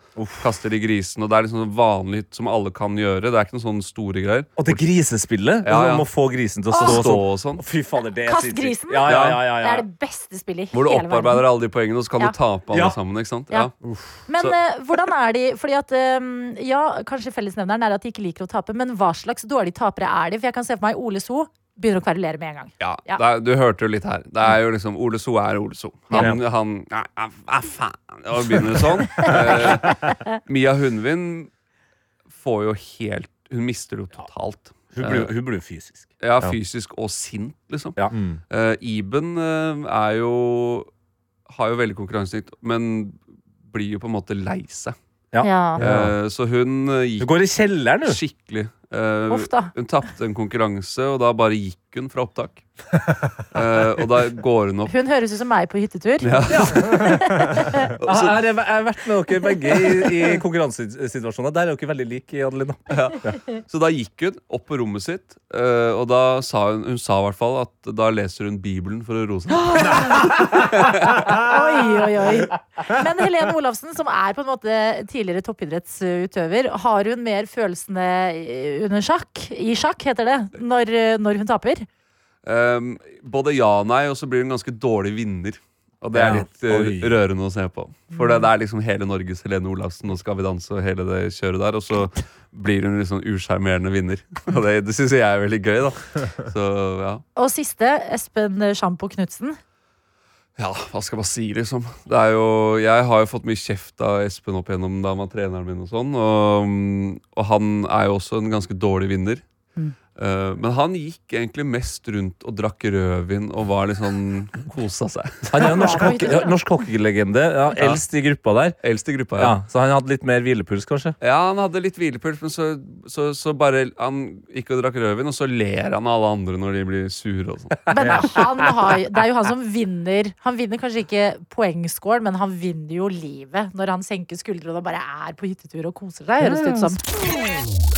[SPEAKER 8] kaster de grisene. Og det er liksom sånn vanlig hytte som alle kan gjøre. Det er ikke noen sånne store greier.
[SPEAKER 4] Og det grisespillet? Altså,
[SPEAKER 8] Ja, ja.
[SPEAKER 4] Om å få grisen til å stå,
[SPEAKER 8] Stå
[SPEAKER 4] sånn.
[SPEAKER 8] og sånn.
[SPEAKER 4] Fy fader, det er
[SPEAKER 3] Kast
[SPEAKER 4] sinnssykt.
[SPEAKER 3] grisen?
[SPEAKER 4] Ja, ja, ja, ja,
[SPEAKER 3] Det
[SPEAKER 4] ja.
[SPEAKER 3] er det beste spillet i
[SPEAKER 8] Hvor du
[SPEAKER 3] hele verden.
[SPEAKER 8] opparbeider alle de poengene, og så kan
[SPEAKER 3] Ja.
[SPEAKER 8] du tape alle
[SPEAKER 5] Ja.
[SPEAKER 8] sammen. ikke sant?
[SPEAKER 3] Ja.
[SPEAKER 8] Ja.
[SPEAKER 3] Men
[SPEAKER 8] Så-
[SPEAKER 3] eh, hvordan er de Fordi at eh, Ja, kanskje fellesnevneren er at de ikke liker å tape, men hva slags dårlige tapere er de? For jeg kan se for meg Ole So begynner å kverulere med en gang.
[SPEAKER 8] Ja,
[SPEAKER 3] Ja.
[SPEAKER 8] Det er, Du hørte jo litt her. Det er jo liksom Ole So er Ole So. Han, han ja, ja, ja, faen Og begynner sånn. Eh, Mia Hundvin får jo helt Hun mister det jo totalt.
[SPEAKER 5] Hun blir, hun blir fysisk.
[SPEAKER 8] Ja, fysisk og sint, liksom.
[SPEAKER 4] Ja.
[SPEAKER 8] Eh, Iben eh, er jo Har jo veldig konkurranseinstinkt, men blir jo på en måte lei seg.
[SPEAKER 4] Ja.
[SPEAKER 3] Ja.
[SPEAKER 8] Eh, så hun eh,
[SPEAKER 4] Du
[SPEAKER 8] gikk
[SPEAKER 4] går i kjelleren, du.
[SPEAKER 8] skikkelig. Eh,
[SPEAKER 3] Uff da.
[SPEAKER 8] hun tapte en konkurranse, og da bare gikk hun fra opptak. Eh, og da går hun opp
[SPEAKER 3] Hun høres ut som meg på hyttetur.
[SPEAKER 4] Ja, her er- jeg har vært med dere begge i, i konkurransesituasjoner. Der er dere veldig like, Adelina.
[SPEAKER 8] Så da gikk hun opp på rommet sitt, eh, og da sa hun, hun sa i hvert fall at da leser hun Bibelen for å roe seg ned.
[SPEAKER 3] Oi, oi, oi. Men Helene Olafsen, som er på en måte tidligere toppidrettsutøver, har hun mer følelsene eh, under sjakk? I sjakk, heter det. Når, eh, når hun taper.
[SPEAKER 8] Um, både ja og nei, og så blir hun ganske dårlig vinner. Og det er
[SPEAKER 5] Ja.
[SPEAKER 8] litt eh,
[SPEAKER 5] Oi. Mm.
[SPEAKER 8] rørende å se på. For det, det er liksom hele Norges Helene Olavsen og Skal vi danse og hele det kjøret der. Og så blir hun litt sånn usjarmerende vinner. Og det, det syns jeg er veldig gøy, da. Så ja.
[SPEAKER 3] Og siste, Espen Sjampo Knutsen.
[SPEAKER 8] Ja, hva skal man si, liksom? Det er jo, jeg har jo fått mye kjeft av Espen opp igjennom da han var treneren min. Og sånn og, og han er jo også en ganske dårlig vinner. Eh, men han gikk egentlig mest rundt og drakk rødvin og var litt sånn kosa seg.
[SPEAKER 4] Han er jo norsk hockey- ja, norsk hockeylegende. Ja, eldst i gruppa der.
[SPEAKER 8] Eldst i gruppa, ja.
[SPEAKER 4] Ja, så han hadde litt mer hvilepuls, kanskje.
[SPEAKER 8] Ja, han hadde litt hvilepuls, men så, så, så bare Han gikk og drakk rødvin, og så ler han av alle andre når de blir sure og sånn.
[SPEAKER 3] Men han har, det er jo han som vinner. Han vinner kanskje ikke poengscoren, men han vinner jo livet når han senker skuldrene og bare er på hyttetur og koser seg. Høres det ut som.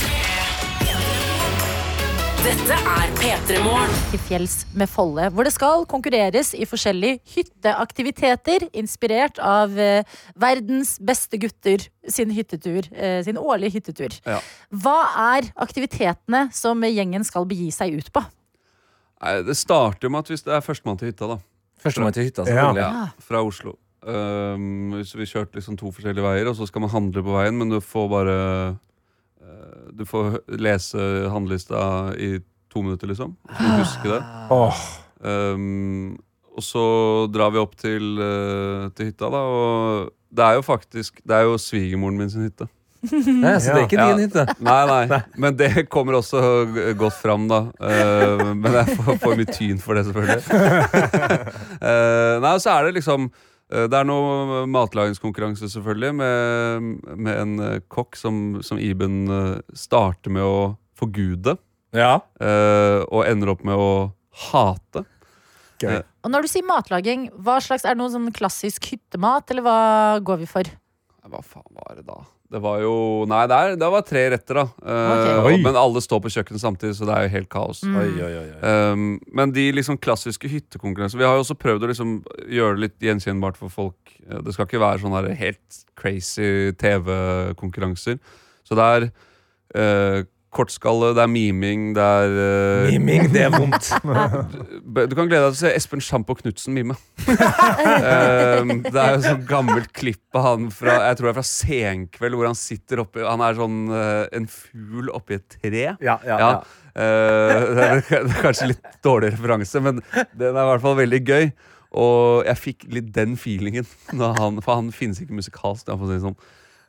[SPEAKER 2] Dette er P3 Morgen.
[SPEAKER 3] til fjells med Folle, hvor det skal konkurreres i forskjellige hytteaktiviteter, inspirert av eh, verdens beste gutter sin hyttetur, eh, sin årlige hyttetur.
[SPEAKER 8] Ja.
[SPEAKER 3] Hva er aktivitetene som gjengen skal begi seg ut på?
[SPEAKER 8] Nei, det starter jo med at hvis det er førstemann til hytta, da.
[SPEAKER 4] Førstemann til hytta,
[SPEAKER 5] Ja.
[SPEAKER 4] selvfølgelig.
[SPEAKER 8] Ja, fra Oslo. Um, så vi kjørte liksom to forskjellige veier, og så skal man handle på veien, men du får bare eh, Du får hø- lese handlelista i to minutter, liksom. Du må huske det.
[SPEAKER 5] Åh,
[SPEAKER 8] Um, og så drar vi opp til, eh, til hytta, da, og det er jo faktisk Det er jo svigermoren min sin hytte.
[SPEAKER 4] Nei, så det er ikke
[SPEAKER 8] Ja.
[SPEAKER 4] din hytte.
[SPEAKER 8] Nei, nei, men det kommer også g- godt fram, da. Eh, men jeg får, får mye tyn for det, selvfølgelig. Eh, nei, og så er det liksom eh, Det er noe matlagingskonkurranse, selvfølgelig, med, med en eh, kokk som, som Iben eh, starter med å forgude,
[SPEAKER 4] Ja.
[SPEAKER 8] eh, og ender opp med å hate.
[SPEAKER 5] gøy.
[SPEAKER 3] Og når du sier matlaging, hva slags, er det noe sånn klassisk hyttemat, eller hva går vi for?
[SPEAKER 8] Nei, Hva faen var det da? Det var jo Nei, det, er, det var tre retter, da. Eh,
[SPEAKER 5] Ok. Oi.
[SPEAKER 8] og- Men alle står på kjøkkenet samtidig, så det er jo helt kaos.
[SPEAKER 4] Oi, oi, oi, oi.
[SPEAKER 8] Um, men de liksom klassiske hyttekonkurransene Vi har jo også prøvd å liksom gjøre det litt gjenkjennbart for folk. Eh, Det skal ikke være sånne her helt crazy TV-konkurranser. Så det er eh, kortskalle, det er miming, det er eh,
[SPEAKER 5] Miming, det er vondt.
[SPEAKER 8] b- Du kan glede deg til å se Espen Sjampo Knutsen mime. um, det er jo sånn gammelt klipp av han fra Jeg tror det er fra Senkveld, hvor han sitter oppi Han er sånn eh, en fugl oppi et tre.
[SPEAKER 5] Ja, ja,
[SPEAKER 8] Ja.
[SPEAKER 5] ja.
[SPEAKER 8] Eh, det er k- det er kanskje litt dårlig referanse, men den er i hvert fall veldig gøy. Og jeg fikk litt den feelingen, når han, for han finnes ikke musikalsk. da, for å si det sånn.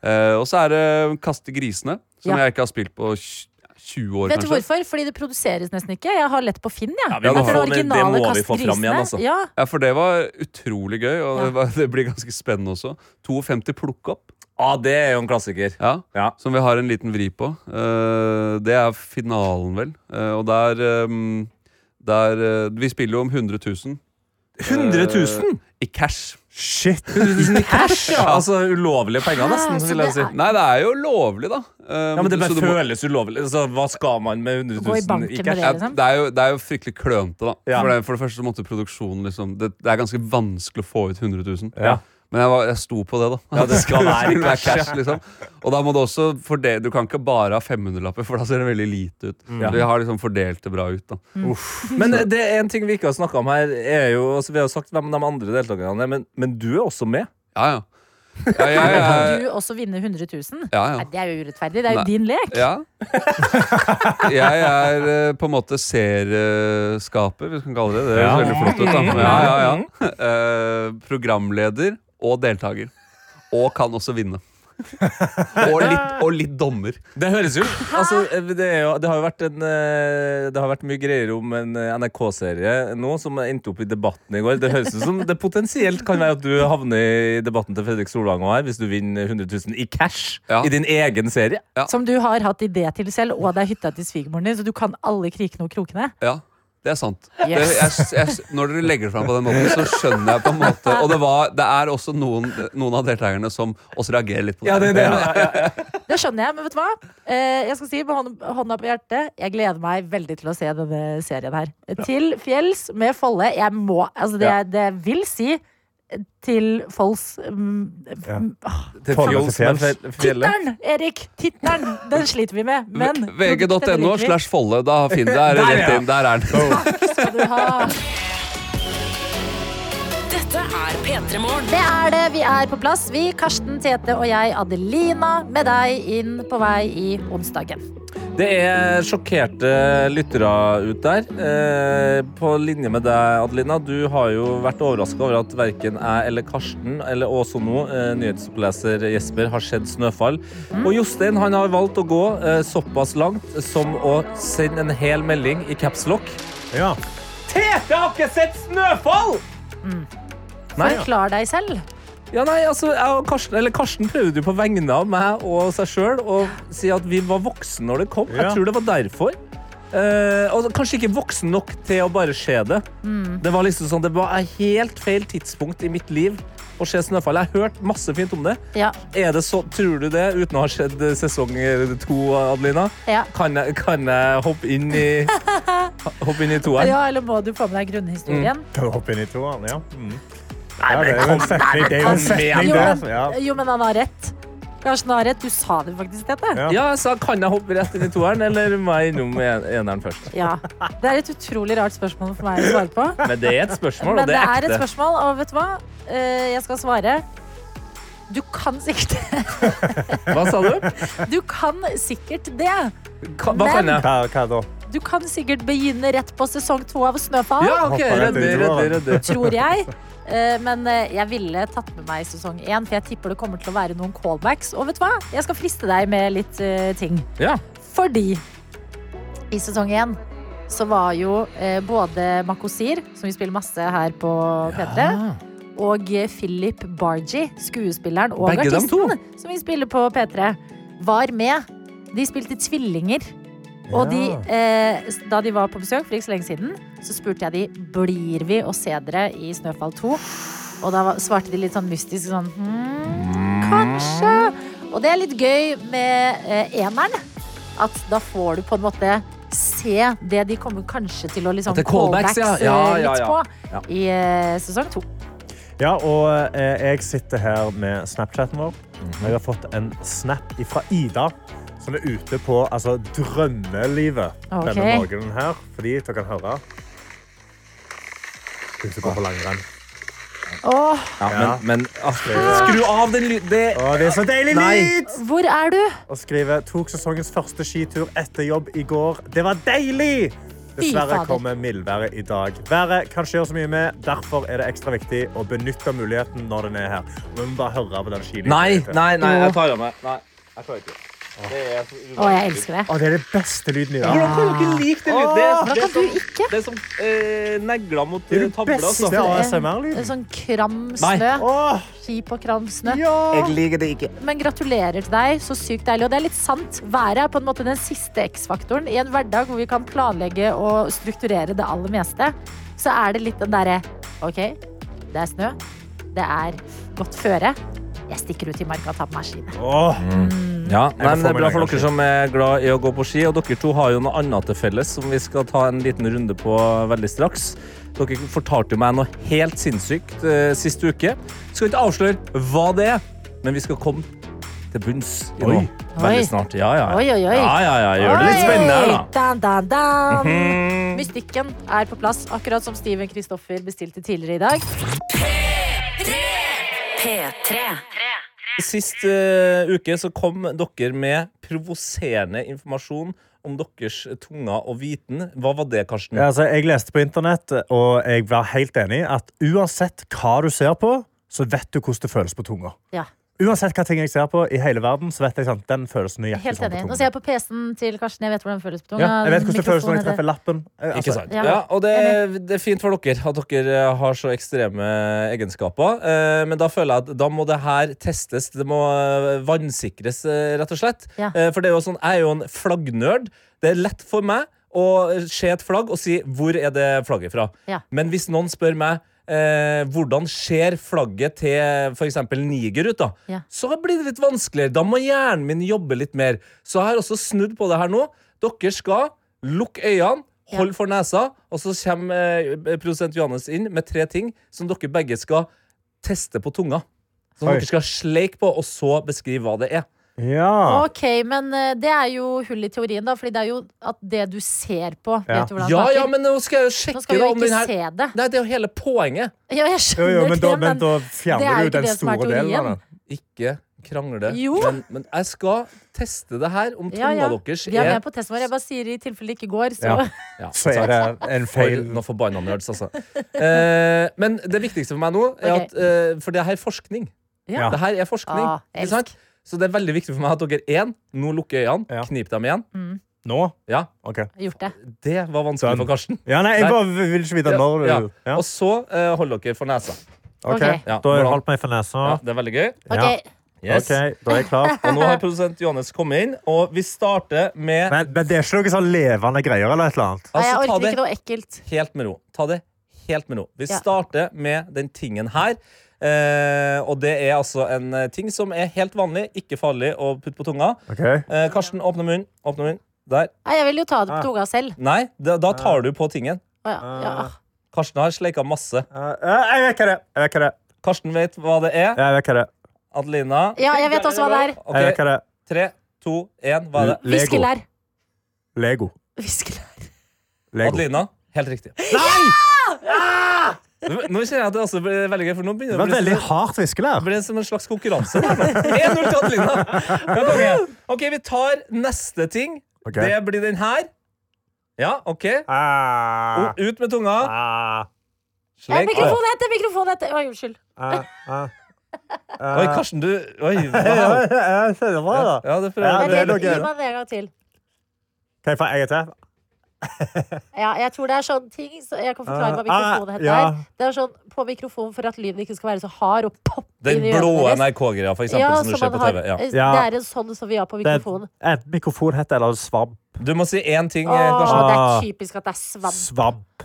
[SPEAKER 8] Eh, og så er det Kaste grisene, som
[SPEAKER 3] Ja.
[SPEAKER 8] jeg ikke har spilt på tj- 20 år,
[SPEAKER 3] Vet du
[SPEAKER 8] kanskje.
[SPEAKER 3] hvorfor? Fordi det produseres nesten ikke. Jeg har lett på Finn, jeg.
[SPEAKER 4] Ja, vi
[SPEAKER 3] Etter
[SPEAKER 4] må få- men det
[SPEAKER 3] originale
[SPEAKER 4] må vi få
[SPEAKER 3] Kast
[SPEAKER 4] fram igjen,
[SPEAKER 3] Grisene.
[SPEAKER 4] altså.
[SPEAKER 3] Ja,
[SPEAKER 8] Ja, For det var utrolig gøy, og
[SPEAKER 3] Ja.
[SPEAKER 8] det, var, det blir ganske spennende også. 52 Plukk opp,
[SPEAKER 4] Ah, det er jo en klassiker.
[SPEAKER 8] ja,
[SPEAKER 4] Ja.
[SPEAKER 8] som vi har en liten vri på. Eh, det er finalen, vel. Eh, og der, ehm, der eh, Vi spiller jo om 100 000
[SPEAKER 5] 100 000?
[SPEAKER 8] i cash.
[SPEAKER 5] Shit.
[SPEAKER 4] Cash, ja. Altså ulovlige penger, nesten.
[SPEAKER 3] så
[SPEAKER 4] Vil jeg
[SPEAKER 3] det
[SPEAKER 4] si.
[SPEAKER 3] er-
[SPEAKER 8] Nei, det er jo lovlig, da. Eh,
[SPEAKER 4] Ja, men det
[SPEAKER 8] så
[SPEAKER 4] bare
[SPEAKER 8] du må-
[SPEAKER 4] føles ulovlig. Altså, hva skal man med 100
[SPEAKER 3] Gå i
[SPEAKER 4] 000 i
[SPEAKER 3] banken med
[SPEAKER 4] cash?
[SPEAKER 8] Ja,
[SPEAKER 3] liksom.
[SPEAKER 8] det, er jo, det er jo fryktelig klønete, da.
[SPEAKER 5] Ja.
[SPEAKER 8] For, det, for det første så måtte produksjonen liksom det, det er ganske vanskelig å få ut 100 000.
[SPEAKER 5] Ja.
[SPEAKER 8] Men jeg, var, jeg sto på det, da.
[SPEAKER 4] Ja, det skal være
[SPEAKER 8] skulle
[SPEAKER 4] cash, ja.
[SPEAKER 8] liksom. Og da må du også fordele Du kan ikke bare ha 500-lapper, for da ser det veldig lite ut.
[SPEAKER 4] Ja.
[SPEAKER 8] Vi har liksom fordelt det bra ut, da.
[SPEAKER 4] Men det er en ting vi ikke har snakka om her. Er jo, altså, vi har jo sagt hvem de andre deltakerne er, men, men du er også med.
[SPEAKER 8] Ja, ja. Ja, ja,
[SPEAKER 3] Kan
[SPEAKER 8] ja,
[SPEAKER 3] du også vinne 100 000?
[SPEAKER 8] ja, ja.
[SPEAKER 3] Nei, det er jo urettferdig. Det er jo
[SPEAKER 8] Nei.
[SPEAKER 3] din lek.
[SPEAKER 8] Ja. Jeg er eh, på en måte serieskaper, hvis vi kan kalle det det. Det
[SPEAKER 5] Ja.
[SPEAKER 8] høres veldig flott ut, da. Ja, ja, ja. Eh, programleder og deltaker. Og kan også vinne. Og litt, og litt dommer.
[SPEAKER 4] Det høres jo altså, det, er jo, det har jo vært en eh, Det har vært mye greier om en eh, NRK-serie nå som endte opp i debatten i går. Det høres ut som det potensielt kan være at du havner i debatten til Fredrik Solvang også her, hvis du vinner 100 000 i cash
[SPEAKER 8] Ja.
[SPEAKER 4] i din egen serie.
[SPEAKER 3] Som du har hatt idé til selv, og det er hytta til svigermoren din, så du kan alle krikene og krokene.
[SPEAKER 8] Ja, det er sant. Det, jeg,
[SPEAKER 3] Yes.
[SPEAKER 8] jeg, når dere legger det fram på den måten, så skjønner jeg på en måte Og det, var, det er også noen, noen av deltakerne som også reagerer litt på det.
[SPEAKER 3] Det skjønner jeg, men vet du hva? Eh, jeg skal si med hånd- hånda på hjertet, jeg gleder meg veldig til å se denne serien her. Til fjells med Folle. Jeg må Altså, det,
[SPEAKER 4] Ja.
[SPEAKER 3] det jeg vil si eh, til Folls mm,
[SPEAKER 5] Ja.
[SPEAKER 4] Til
[SPEAKER 5] Faen,
[SPEAKER 4] fjols,
[SPEAKER 5] til
[SPEAKER 4] men
[SPEAKER 5] fjells.
[SPEAKER 4] fe- fjellet.
[SPEAKER 3] Tittelen, Erik! Tittelen! Den sliter vi med, men produktet
[SPEAKER 8] VG.no
[SPEAKER 3] liker vi.
[SPEAKER 8] slash Folle. Da finner dere
[SPEAKER 4] Der,
[SPEAKER 8] rett
[SPEAKER 4] ja.
[SPEAKER 8] inn. Der er den.
[SPEAKER 3] Skal du ha.
[SPEAKER 2] Dette er P3 Morgen.
[SPEAKER 3] Det er det. Vi er på plass, vi. Karsten, Tete og jeg, Adelina, med deg inn på vei i onsdagen.
[SPEAKER 4] Det er sjokkerte lyttere ut der. Eh, på linje med deg, Adelina. Du har jo vært overraska over at verken jeg eller Karsten, eller også nå eh, nyhetsoppleser Jesper, har sett snøfall. Og Jostein han har valgt å gå eh, såpass langt som å sende en hel melding i capslock.
[SPEAKER 5] Ja.
[SPEAKER 4] Tete har ikke sett snøfall! Nei, ja.
[SPEAKER 3] Forklar deg selv.
[SPEAKER 4] Ja, nei, altså, jeg og Karsten, eller Karsten prøvde jo på vegne av meg og seg sjøl å si at vi var voksne når det kom.
[SPEAKER 5] Ja.
[SPEAKER 4] Jeg tror det var derfor. Eh, og kanskje ikke voksen nok til å bare se det.
[SPEAKER 3] Mm.
[SPEAKER 4] Det var liksom sånn, det var et helt feil tidspunkt i mitt liv å se snøfall. Jeg har hørt masse fint om det.
[SPEAKER 3] Ja.
[SPEAKER 4] Er det så, tror du det, uten å ha sett eh, sesong eh, to, Adelina?
[SPEAKER 3] Ja.
[SPEAKER 4] Kan jeg, kan jeg hoppe inn i Hopp inn i toeren.
[SPEAKER 3] Ja, eller må du få med deg grunnhistorien?
[SPEAKER 4] Mm.
[SPEAKER 5] Kan du hoppe inn i toeren? Ja. Mm. ja det er jo en setning, det. Er jo en setning,
[SPEAKER 3] Jo,
[SPEAKER 4] sånn,
[SPEAKER 5] det. Ja.
[SPEAKER 3] men, jo, men han har rett. Karsten har rett. Du sa det faktisk, Tete.
[SPEAKER 5] Ja.
[SPEAKER 4] Ja, så kan jeg hoppe rett inn i toeren, eller må jeg innom en- eneren først?
[SPEAKER 3] Ja. Det er et utrolig rart spørsmål for meg å svare på.
[SPEAKER 4] Men det er et spørsmål,
[SPEAKER 3] Men
[SPEAKER 4] og det
[SPEAKER 3] det
[SPEAKER 4] er
[SPEAKER 3] er et
[SPEAKER 4] ekte.
[SPEAKER 3] spørsmål, og vet du hva? Eh, Jeg skal svare. Du kan sikkert
[SPEAKER 4] Hva sa du?
[SPEAKER 3] Du kan sikkert det.
[SPEAKER 4] Ka- Hva kan jeg?
[SPEAKER 5] Hva, hva da?
[SPEAKER 3] Du kan sikkert begynne rett på sesong to av Snøfall,
[SPEAKER 4] Ja, OK. Redder, redder, redder.
[SPEAKER 3] tror jeg. Eh, Men eh, jeg ville tatt med meg sesong én, for jeg tipper det kommer til å være noen callbacks. Og vet du hva? Jeg skal friste deg med litt eh, ting.
[SPEAKER 4] Ja.
[SPEAKER 3] Fordi i sesong én så var jo eh, både Makosir, som vi spiller masse her på P3, og eh, Philip Bargie, skuespilleren og
[SPEAKER 4] Begge dem to?
[SPEAKER 3] artisten, som vi spiller på P3, var med. De spilte tvillinger. Og de,
[SPEAKER 5] Ja.
[SPEAKER 3] eh, s- da de var på besøk for ikke så lenge siden, så spurte jeg de blir vi å se dere i Snøfall 2. Og da var- svarte de litt sånn mystisk sånn hm, kanskje. Og det er litt gøy med eh, eneren. At da får du på en måte se det de kommer kanskje til å liksom
[SPEAKER 4] At det er callbacks, ja.
[SPEAKER 3] eh,
[SPEAKER 4] Ja, ja, ja.
[SPEAKER 3] litt på
[SPEAKER 4] Ja.
[SPEAKER 3] i eh, sesong to.
[SPEAKER 5] Ja, og eh, jeg sitter her med Snapchaten vår. Jeg har fått en snap fra Ida, som er ute på altså, drømmelivet
[SPEAKER 3] Ok.
[SPEAKER 5] denne morgenen her. Fordi dere kan høre. Hun som går på langrenn.
[SPEAKER 3] Åh,
[SPEAKER 4] Ja,
[SPEAKER 5] Ja.
[SPEAKER 4] men, men Astrid, skru av den lyden! Det
[SPEAKER 5] Å, det er så deilig
[SPEAKER 4] Nei.
[SPEAKER 5] lyd!
[SPEAKER 3] hvor er du?
[SPEAKER 5] Og skriver tok sesongens første skitur etter jobb i går. Det var deilig! Dessverre
[SPEAKER 3] fader.
[SPEAKER 5] kommer mildværet i dag. Været kan ikke gjøre så mye med. Derfor er det ekstra viktig å benytte muligheten når den er her. Vi må bare høre på den skilyden.
[SPEAKER 4] Nei, nei, nei, jeg tar av meg. Nei, jeg klarer ikke. Det er så
[SPEAKER 3] Å, jeg elsker det.
[SPEAKER 5] Å, det er det beste lyden i dag.
[SPEAKER 4] Hvordan kan dere like den lyden? Det er- det er
[SPEAKER 3] Hvordan kan
[SPEAKER 4] som-
[SPEAKER 3] du ikke?
[SPEAKER 4] Det er som eh, negler mot
[SPEAKER 5] Det er
[SPEAKER 4] eh,
[SPEAKER 5] det
[SPEAKER 4] tavla.
[SPEAKER 5] beste
[SPEAKER 4] altså.
[SPEAKER 5] ASMR-lyden.
[SPEAKER 3] Sånn
[SPEAKER 4] Nei.
[SPEAKER 3] kramsnø.
[SPEAKER 5] Åh,
[SPEAKER 3] Skip og kramsnø.
[SPEAKER 5] ja!
[SPEAKER 4] liker det ikke.
[SPEAKER 3] Men gratulerer til deg. Så sykt deilig. Og det er litt sant. Været er på en måte den siste X-faktoren. I en hverdag hvor vi kan planlegge og strukturere det aller meste, så er det litt den derre OK, det er snø. Det er godt føre. Jeg stikker ut i marka og tar på meg skiene.
[SPEAKER 5] Åh,
[SPEAKER 4] Ja, nei, men Det er bra for
[SPEAKER 5] Formiddag,
[SPEAKER 4] dere som er glad i å gå på ski. Og dere to har jo noe annet til felles som vi skal ta en liten runde på veldig straks. Dere fortalte jo meg noe helt sinnssykt eh, sist uke. Skal ikke avsløre hva det er, men vi skal komme til bunns i noe
[SPEAKER 5] Oi.
[SPEAKER 3] Oi.
[SPEAKER 4] veldig snart. Ja, ja.
[SPEAKER 3] Oi, oi, oi.
[SPEAKER 4] ja, ja, ja. Gjør det litt spennende her, da. Mhm.
[SPEAKER 3] Dan, dan, dan. Mystikken er på plass, akkurat som Steven Kristoffer bestilte tidligere i dag.
[SPEAKER 2] P3.
[SPEAKER 4] Sist eh, uke så kom dere med provoserende informasjon om deres tunger og viten. Hva var det, Karsten?
[SPEAKER 5] Ja, altså, jeg leste på internett, og jeg var helt enig i at uansett hva du ser på, så vet du hvordan det føles på tunga.
[SPEAKER 3] Ja,
[SPEAKER 5] Uansett hva ting jeg ser på i hele verden, så vet jeg sant, den følelsen nøyaktig
[SPEAKER 3] Helt
[SPEAKER 5] sånn
[SPEAKER 3] enig. Nå
[SPEAKER 5] på tunga.
[SPEAKER 3] ser jeg på PC-en til Karsten. Jeg vet hvordan den føles på tunga.
[SPEAKER 5] Ja, jeg vet hvordan det føles når
[SPEAKER 3] Mikrofonen
[SPEAKER 5] jeg
[SPEAKER 3] er det.
[SPEAKER 5] treffer lappen. Eh, altså,
[SPEAKER 4] Ikke sant?
[SPEAKER 3] ja.
[SPEAKER 4] Ja, og det, det er fint for dere at dere har så ekstreme egenskaper. eh, Men da føler jeg at da må det her testes. Det må eh, vannsikres, eh, rett og slett.
[SPEAKER 3] Ja.
[SPEAKER 4] Eh, For det er jo sånn, jeg er jo en flaggnerd. Det er lett for meg å se et flagg og si 'hvor er det flagget fra'?
[SPEAKER 3] Ja.
[SPEAKER 4] Men hvis noen spør meg eh, hvordan ser flagget til f.eks. Niger ut, da?
[SPEAKER 3] Ja.
[SPEAKER 4] Så blir det litt vanskeligere. Da må hjernen min jobbe litt mer. Så jeg har også snudd på det her nå. Dere skal lukke øynene,
[SPEAKER 3] Ja.
[SPEAKER 4] hold for nesa, og så kommer eh, produsent Johannes inn med tre ting som dere begge skal teste på tunga. Som
[SPEAKER 5] Oi.
[SPEAKER 4] dere skal sleike på, og så beskrive hva det er.
[SPEAKER 5] Ja.
[SPEAKER 3] Ok, men eh, det er jo hull i teorien, da. Fordi det er jo at det du ser på,
[SPEAKER 5] Ja.
[SPEAKER 3] vet du hvordan
[SPEAKER 4] Ja,
[SPEAKER 3] smaker.
[SPEAKER 4] ja, men nå skal jeg jo
[SPEAKER 3] Nå
[SPEAKER 4] sjekke
[SPEAKER 3] skal vi
[SPEAKER 4] da
[SPEAKER 3] jo
[SPEAKER 4] om den
[SPEAKER 3] ikke
[SPEAKER 4] her
[SPEAKER 3] se det.
[SPEAKER 4] Nei, det er jo hele poenget.
[SPEAKER 3] Ja, jeg
[SPEAKER 5] Jo,
[SPEAKER 3] skjønner
[SPEAKER 5] jo, men, da,
[SPEAKER 3] det,
[SPEAKER 5] men da
[SPEAKER 3] det er
[SPEAKER 5] fjerner
[SPEAKER 3] jo
[SPEAKER 5] du jo
[SPEAKER 3] ikke
[SPEAKER 5] den
[SPEAKER 3] det som er
[SPEAKER 5] store delen av
[SPEAKER 3] teorien.
[SPEAKER 5] det.
[SPEAKER 4] Ikke krangle.
[SPEAKER 3] Jo.
[SPEAKER 4] Men, men jeg skal teste det her, om tunga
[SPEAKER 3] ja, ja.
[SPEAKER 4] deres
[SPEAKER 3] Vi er
[SPEAKER 4] er
[SPEAKER 3] med på testen vår. Jeg bare sier i tilfelle det ikke går, så
[SPEAKER 5] Ja.
[SPEAKER 4] Ja,
[SPEAKER 5] Så er det en
[SPEAKER 4] For
[SPEAKER 5] feil
[SPEAKER 4] noen forbanna nerds, altså. Eh, men det viktigste for meg nå er
[SPEAKER 3] Ok.
[SPEAKER 4] at eh, For det her er forskning.
[SPEAKER 5] Ja.
[SPEAKER 4] Det her er forskning.
[SPEAKER 3] Ah,
[SPEAKER 4] ikke sant? Så det er veldig viktig for meg at dere én, nå lukker øynene,
[SPEAKER 5] Ja.
[SPEAKER 4] knip dem igjen.
[SPEAKER 5] Nå?
[SPEAKER 4] Ja,
[SPEAKER 5] OK.
[SPEAKER 3] gjort det.
[SPEAKER 4] Det var vanskelig
[SPEAKER 5] Sånn.
[SPEAKER 4] for Karsten.
[SPEAKER 5] Ja, nei, jeg
[SPEAKER 4] Nei.
[SPEAKER 5] bare vil ikke vite når
[SPEAKER 4] Ja.
[SPEAKER 5] du ja.
[SPEAKER 4] Og så eh, hold dere for nesa.
[SPEAKER 5] OK.
[SPEAKER 3] Ok.
[SPEAKER 5] Da har jeg holdt meg for nesa.
[SPEAKER 4] Ja, det er veldig gøy.
[SPEAKER 3] Ok,
[SPEAKER 5] Ja.
[SPEAKER 4] Yes.
[SPEAKER 5] OK, da er jeg klar.
[SPEAKER 4] Og nå har produsent Johannes kommet inn, og vi starter med
[SPEAKER 5] Men, men det er ikke noe sånn levende greier eller et eller annet?
[SPEAKER 3] Nei, jeg
[SPEAKER 4] Altså, ta
[SPEAKER 3] orker
[SPEAKER 4] det
[SPEAKER 3] ikke noe ekkelt.
[SPEAKER 4] helt med ro. Ta det helt med ro. Vi
[SPEAKER 3] Ja.
[SPEAKER 4] starter med den tingen her. Eh, og det er altså en eh, ting som er helt vanlig, ikke farlig å putte på tunga.
[SPEAKER 5] Ok.
[SPEAKER 4] Eh, Karsten, åpne munnen. Åpne munnen. Der.
[SPEAKER 3] Nei, jeg vil jo ta det på tunga selv.
[SPEAKER 4] Nei, da, da tar du på tingen.
[SPEAKER 3] Å, ja. ah. Ja.
[SPEAKER 4] Karsten har sleika masse.
[SPEAKER 5] Eh, eh, jeg vet hva det er. Jeg vet hva det er.
[SPEAKER 4] Karsten vet hva det er.
[SPEAKER 5] Jeg vet hva det er.
[SPEAKER 4] Adelina.
[SPEAKER 3] ja, jeg vet også hva det er.
[SPEAKER 5] Jeg vet
[SPEAKER 4] Ok,
[SPEAKER 5] hva det er.
[SPEAKER 4] tre, to, én. Hva er det?
[SPEAKER 3] Viskelær.
[SPEAKER 5] Lego.
[SPEAKER 3] Viskelær.
[SPEAKER 5] Lego.
[SPEAKER 4] Adelina. Helt riktig. Nå nå kjenner jeg at det også blir veldig gøy, for nå
[SPEAKER 5] Det
[SPEAKER 4] begynner
[SPEAKER 5] var
[SPEAKER 4] det å bli sånn-
[SPEAKER 5] veldig hardt viskelær.
[SPEAKER 4] Det ble som en slags konkurranse. der nå. 1-0 til Adelina. Ja, konge. OK, vi tar neste ting.
[SPEAKER 5] Ok.
[SPEAKER 4] Det blir den her. Ja, OK.
[SPEAKER 5] Ah,
[SPEAKER 4] O- Ut med tunga.
[SPEAKER 5] ah,
[SPEAKER 3] Eh,
[SPEAKER 4] Slegg. Oi,
[SPEAKER 3] Mikrofonhette! Mikrofonhette! Oi, unnskyld.
[SPEAKER 5] ah, ah.
[SPEAKER 4] Karsten, du Oi.
[SPEAKER 5] Ja,
[SPEAKER 4] Wow.
[SPEAKER 5] jeg kjenner bra, da.
[SPEAKER 4] Ja, det
[SPEAKER 5] Ja,
[SPEAKER 3] Nei,
[SPEAKER 4] prøver
[SPEAKER 5] det er
[SPEAKER 3] det-
[SPEAKER 5] noe
[SPEAKER 3] Gi
[SPEAKER 5] gøy.
[SPEAKER 3] meg det en gang til.
[SPEAKER 5] Kan jeg få en gang til?
[SPEAKER 3] Ja, jeg tror det er sånn ting så Jeg kan forklare hva
[SPEAKER 5] Ah, ah,
[SPEAKER 3] mikrofonhette
[SPEAKER 5] ja.
[SPEAKER 3] er. Det er sånn på mikrofonen for at lyden ikke skal være så hard og poppe
[SPEAKER 4] Den
[SPEAKER 3] inn i
[SPEAKER 4] blå
[SPEAKER 3] ørene deres.
[SPEAKER 4] NRK-greia, for eksempel,
[SPEAKER 3] Ja,
[SPEAKER 4] som du
[SPEAKER 3] som
[SPEAKER 4] ser
[SPEAKER 3] man
[SPEAKER 4] på
[SPEAKER 3] har.
[SPEAKER 4] TV. Ja.
[SPEAKER 3] Det er en sånn som vi har på
[SPEAKER 5] Det er
[SPEAKER 3] mikrofonen.
[SPEAKER 5] et mikrofonhette eller en svamp.
[SPEAKER 4] Du må si én ting, eh,
[SPEAKER 3] Åh,
[SPEAKER 4] Karsten.
[SPEAKER 3] det
[SPEAKER 5] Ah.
[SPEAKER 3] er typisk at det er svamp.
[SPEAKER 5] Svamp.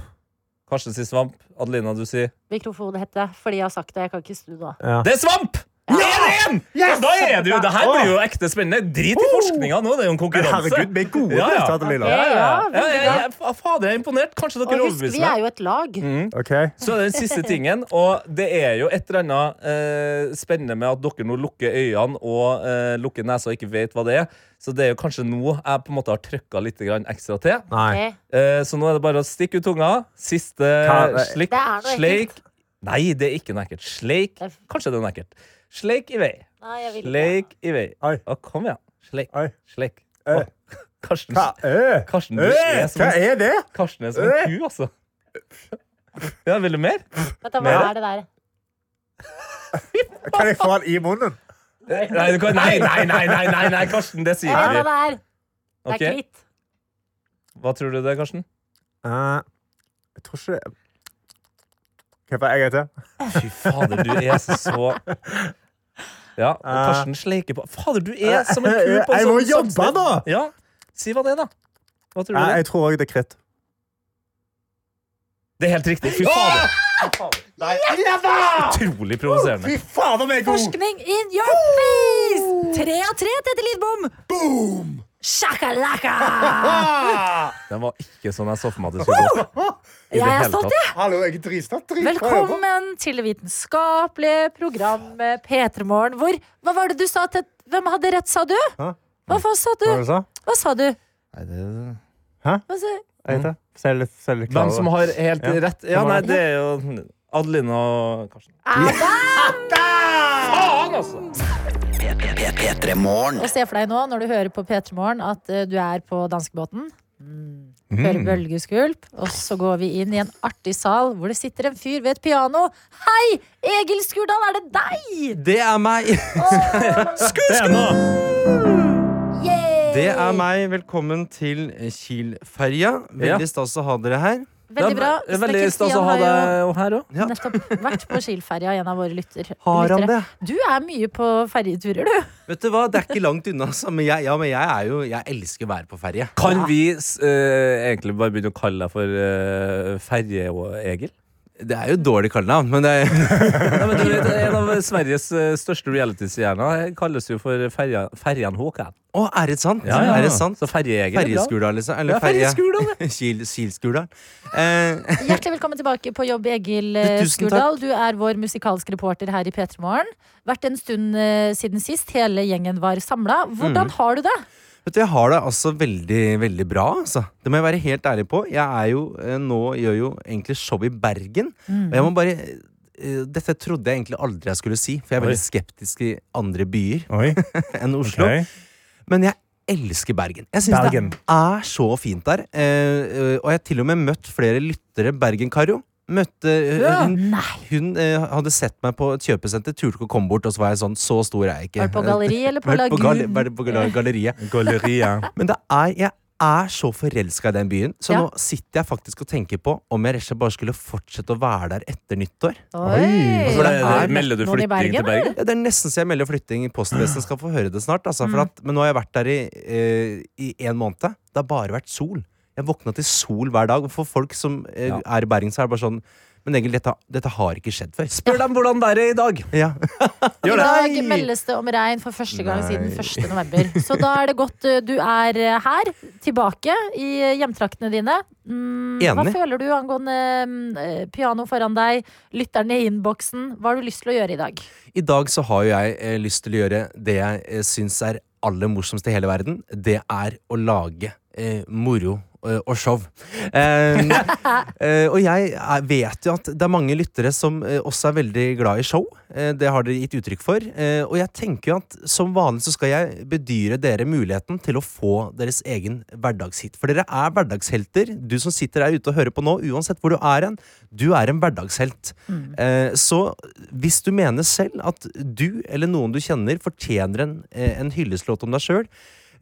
[SPEAKER 4] Karsten sier svamp. Adelina, du sier
[SPEAKER 3] Mikrofonhette. Fordi jeg har sagt det. Jeg kan ikke snu nå.
[SPEAKER 5] Ja.
[SPEAKER 4] Det er svamp! Det er en! Da er det jo, det her blir jo ekte spennende. Drit i forskninga nå, det er jo en
[SPEAKER 5] Men
[SPEAKER 4] konkurranse.
[SPEAKER 5] herregud, vi er gode
[SPEAKER 4] Ja, ja.
[SPEAKER 5] til dette,
[SPEAKER 3] Ok.
[SPEAKER 5] Lilla.
[SPEAKER 4] Ja, ja,
[SPEAKER 3] Ja,
[SPEAKER 4] ja.
[SPEAKER 3] veldig
[SPEAKER 4] ja, ja, ja. Fader, jeg er imponert. Kanskje
[SPEAKER 3] Og
[SPEAKER 4] dere
[SPEAKER 3] husk, vi
[SPEAKER 4] overbeviser meg.
[SPEAKER 3] er jo et lag.
[SPEAKER 5] Ok.
[SPEAKER 4] Så er det den siste tingen, og det er jo et eller annet eh, spennende med at dere nå lukker øynene og eh, lukker nesa og ikke vet hva det er. Så det er jo kanskje nå jeg på en måte har trykka litt grann ekstra til.
[SPEAKER 5] Nei.
[SPEAKER 3] Ok.
[SPEAKER 4] Eh, så nå er det bare å stikke ut tunga. Siste
[SPEAKER 5] Hva-
[SPEAKER 4] slik,
[SPEAKER 3] Det er noe
[SPEAKER 4] sleik Nei, det er ikke noe ekkelt. Sleik
[SPEAKER 3] Det er-
[SPEAKER 4] Kanskje det er noe ekkelt. Sleik i vei.
[SPEAKER 3] Nei, jeg vil ikke.
[SPEAKER 4] Sleik i vei.
[SPEAKER 5] Oi.
[SPEAKER 4] Å, kom igjen. Sleik.
[SPEAKER 5] Oi.
[SPEAKER 4] Sleik.
[SPEAKER 5] Eh.
[SPEAKER 4] Å, Karsten,
[SPEAKER 5] Hva er
[SPEAKER 4] Karsten, du
[SPEAKER 5] Eh,
[SPEAKER 4] er som
[SPEAKER 5] Hva
[SPEAKER 4] en,
[SPEAKER 5] er det?
[SPEAKER 4] Karsten er som en ku, altså. Ja, vil du mer?
[SPEAKER 3] Vent, da, hva
[SPEAKER 5] Mer?
[SPEAKER 3] er det der?
[SPEAKER 5] Kan jeg få den i munnen?
[SPEAKER 4] Nei, du kan, nei, nei, nei, nei, nei, nei, Karsten, det sier
[SPEAKER 3] Jeg vet hva det
[SPEAKER 4] ikke vi.
[SPEAKER 3] er. Det er
[SPEAKER 4] Ok,
[SPEAKER 3] kvitt.
[SPEAKER 4] Hva tror du det er, Karsten?
[SPEAKER 5] Eh, jeg tror ikke det Kan jeg få en gang til?
[SPEAKER 4] Fy fader, du er så Ja, og Karsten sleiker på Fader, du er som en ku på en
[SPEAKER 5] Jeg må
[SPEAKER 4] sånn
[SPEAKER 5] jobbe,
[SPEAKER 4] samsted.
[SPEAKER 5] da!
[SPEAKER 4] Ja, Si hva det er, da. Hva tror du
[SPEAKER 5] Eh,
[SPEAKER 4] det er?
[SPEAKER 5] jeg tror òg det er kritt.
[SPEAKER 4] Det er helt riktig. Fy fader. Utrolig provoserende.
[SPEAKER 5] fader, vi er
[SPEAKER 3] Forskning in your face! Tre av tre til Etter Lidbom! Boom! Shakalaka!
[SPEAKER 4] Den var ikke sånn jeg så for meg at det skulle gå. I det
[SPEAKER 3] Jeg er
[SPEAKER 4] hele
[SPEAKER 3] stolt,
[SPEAKER 4] tatt.
[SPEAKER 3] jeg.
[SPEAKER 5] Hallo, jeg er dritstolt.
[SPEAKER 3] Velkommen til det vitenskapelige programmet P3 Morgen, hvor Hva var det du sa til Hvem hadde rett, sa du?
[SPEAKER 5] Hæ?
[SPEAKER 3] Hva faen sa du?
[SPEAKER 5] Hva var det du sa?
[SPEAKER 3] Hva sa du?
[SPEAKER 4] Nei, det-
[SPEAKER 3] Hva sa du?
[SPEAKER 5] Jeg vet det. Ser litt, ser litt
[SPEAKER 4] Hvem som
[SPEAKER 5] klarere.
[SPEAKER 4] har helt
[SPEAKER 5] Ja.
[SPEAKER 4] rett? Ja, nei, det er jo Adeline og Karsten.
[SPEAKER 12] P3 Morgen.
[SPEAKER 3] Og se for deg nå, når du hører på P3 Morgen, at eh, du er på danskebåten. Mm. Hører
[SPEAKER 4] Mm.
[SPEAKER 3] bølgeskvulp, og så går vi inn i en artig sal hvor det sitter en fyr ved et piano. Hei! Egil Skurdal, er det deg?
[SPEAKER 8] Det er meg.
[SPEAKER 4] Det er nå.
[SPEAKER 3] Yay!
[SPEAKER 8] Det er meg. Velkommen til Kiel-ferja. Veldig stas å ha dere her.
[SPEAKER 3] Veldig bra.
[SPEAKER 4] Det er Veldig
[SPEAKER 3] Snekker
[SPEAKER 4] stas å
[SPEAKER 3] Stian
[SPEAKER 4] ha
[SPEAKER 3] har jo
[SPEAKER 4] deg her òg.
[SPEAKER 8] Ja.
[SPEAKER 3] Nettopp vært på Kiel-ferja, en av våre lytter.
[SPEAKER 8] Har han
[SPEAKER 3] lyttere.
[SPEAKER 8] det?
[SPEAKER 3] Du er mye på ferjeturer, du.
[SPEAKER 8] Vet du hva, Det er ikke langt unna, altså. Men jeg, ja, men jeg er jo Jeg elsker å være på ferje.
[SPEAKER 4] Kan vi s- eh, egentlig bare begynne å kalle deg for eh, Ferje-Egil?
[SPEAKER 8] Det er jo dårlig kallenavn, men det er,
[SPEAKER 4] Nei, men du vet, En av Sveriges eh, største reality-stjerner kalles jo for ferja- Ferjan Håkan.
[SPEAKER 8] Å, er det sant? Er det sant?
[SPEAKER 4] Så Ferje-Egil er bra.
[SPEAKER 8] Ferjeskula, liksom. Eller
[SPEAKER 4] Ja, Ferjeskula,
[SPEAKER 8] ferje... Kiel- Kielskula. Eh,
[SPEAKER 3] Hjertelig velkommen tilbake på jobb, Egil eh,
[SPEAKER 8] Du, tusen
[SPEAKER 3] Skurdal. Du er vår musikalske reporter her i P3 Morgen. Vært en stund eh, siden sist. Hele gjengen var samla.
[SPEAKER 4] Mm.
[SPEAKER 3] Hvordan har du det?
[SPEAKER 8] Vet du, Jeg har det altså veldig veldig bra. altså. Det må jeg være helt ærlig på. Jeg er jo, eh, nå gjør jo egentlig show i Bergen. Og jeg må bare eh, Dette trodde jeg egentlig aldri jeg skulle si, for jeg er veldig skeptisk i andre byer
[SPEAKER 5] Oi,
[SPEAKER 8] enn Oslo.
[SPEAKER 5] ok.
[SPEAKER 8] Men jeg elsker Bergen. Jeg syns det
[SPEAKER 5] Bergen.
[SPEAKER 8] er så fint der. Eh, eh, og jeg har til og med møtt flere lyttere. Bergen-Karo. Møtte eh,
[SPEAKER 4] Ja.
[SPEAKER 8] Hun, hun eh, hadde sett meg på et kjøpesenter, turte ikke å komme bort, og så var jeg sånn Så stor er jeg ikke.
[SPEAKER 3] Var det på galleri eller på
[SPEAKER 8] Vært på, gal-
[SPEAKER 3] lagun?
[SPEAKER 8] vært på gal- galleriet.
[SPEAKER 5] Galleriet.
[SPEAKER 8] Men det er, jeg er så forelska i den byen, så
[SPEAKER 3] Ja.
[SPEAKER 8] nå sitter jeg faktisk og tenker på om jeg rett og slett bare skulle fortsette å være der etter nyttår.
[SPEAKER 3] Oi!
[SPEAKER 4] For det,
[SPEAKER 8] Er
[SPEAKER 4] det, Eh, melder du
[SPEAKER 3] noen i
[SPEAKER 4] flytting til
[SPEAKER 3] Bergen,
[SPEAKER 4] Bergen?
[SPEAKER 8] Ja, det er nesten så jeg melder flytting. Postvesenet
[SPEAKER 4] Mm.
[SPEAKER 8] eh, skal få høre det snart. Altså, for at, men nå har jeg vært der i én måned. Det har bare vært sol. Jeg våkna til sol hver dag. Og for folk som eh, er i Bergen, så er det bare sånn Men Egil, dette, dette har ikke skjedd før.
[SPEAKER 4] Spør dem hvordan det er i dag.
[SPEAKER 8] Ja.
[SPEAKER 3] I dag meldes det om regn for første gang siden 1. november. Så da er det godt eh, du er eh, her, tilbake i eh, hjemtraktene dine. Mm, hva
[SPEAKER 8] Enig.
[SPEAKER 3] føler du angående mm, eh, piano foran deg, lytterne i innboksen? Hva har du lyst til å gjøre i dag?
[SPEAKER 8] I dag så har jo jeg eh, lyst til å gjøre det jeg eh, syns er aller morsomst i hele verden. Det er å lage eh, moro eh, og show. Eh, eh, og jeg er, vet jo at det er mange lyttere som eh, også er veldig glad i show. Eh, det har dere gitt uttrykk for. Eh, og jeg tenker jo at som vanlig så skal jeg bedyre dere muligheten til å få deres egen hverdagshit. For dere er hverdagshelter. Du som sitter der ute og hører på nå, uansett hvor du er hen, du er en hverdagshelt. Eh, så hvis du mener selv at du eller noen du kjenner fortjener en, eh, en hylleslåt om deg sjøl,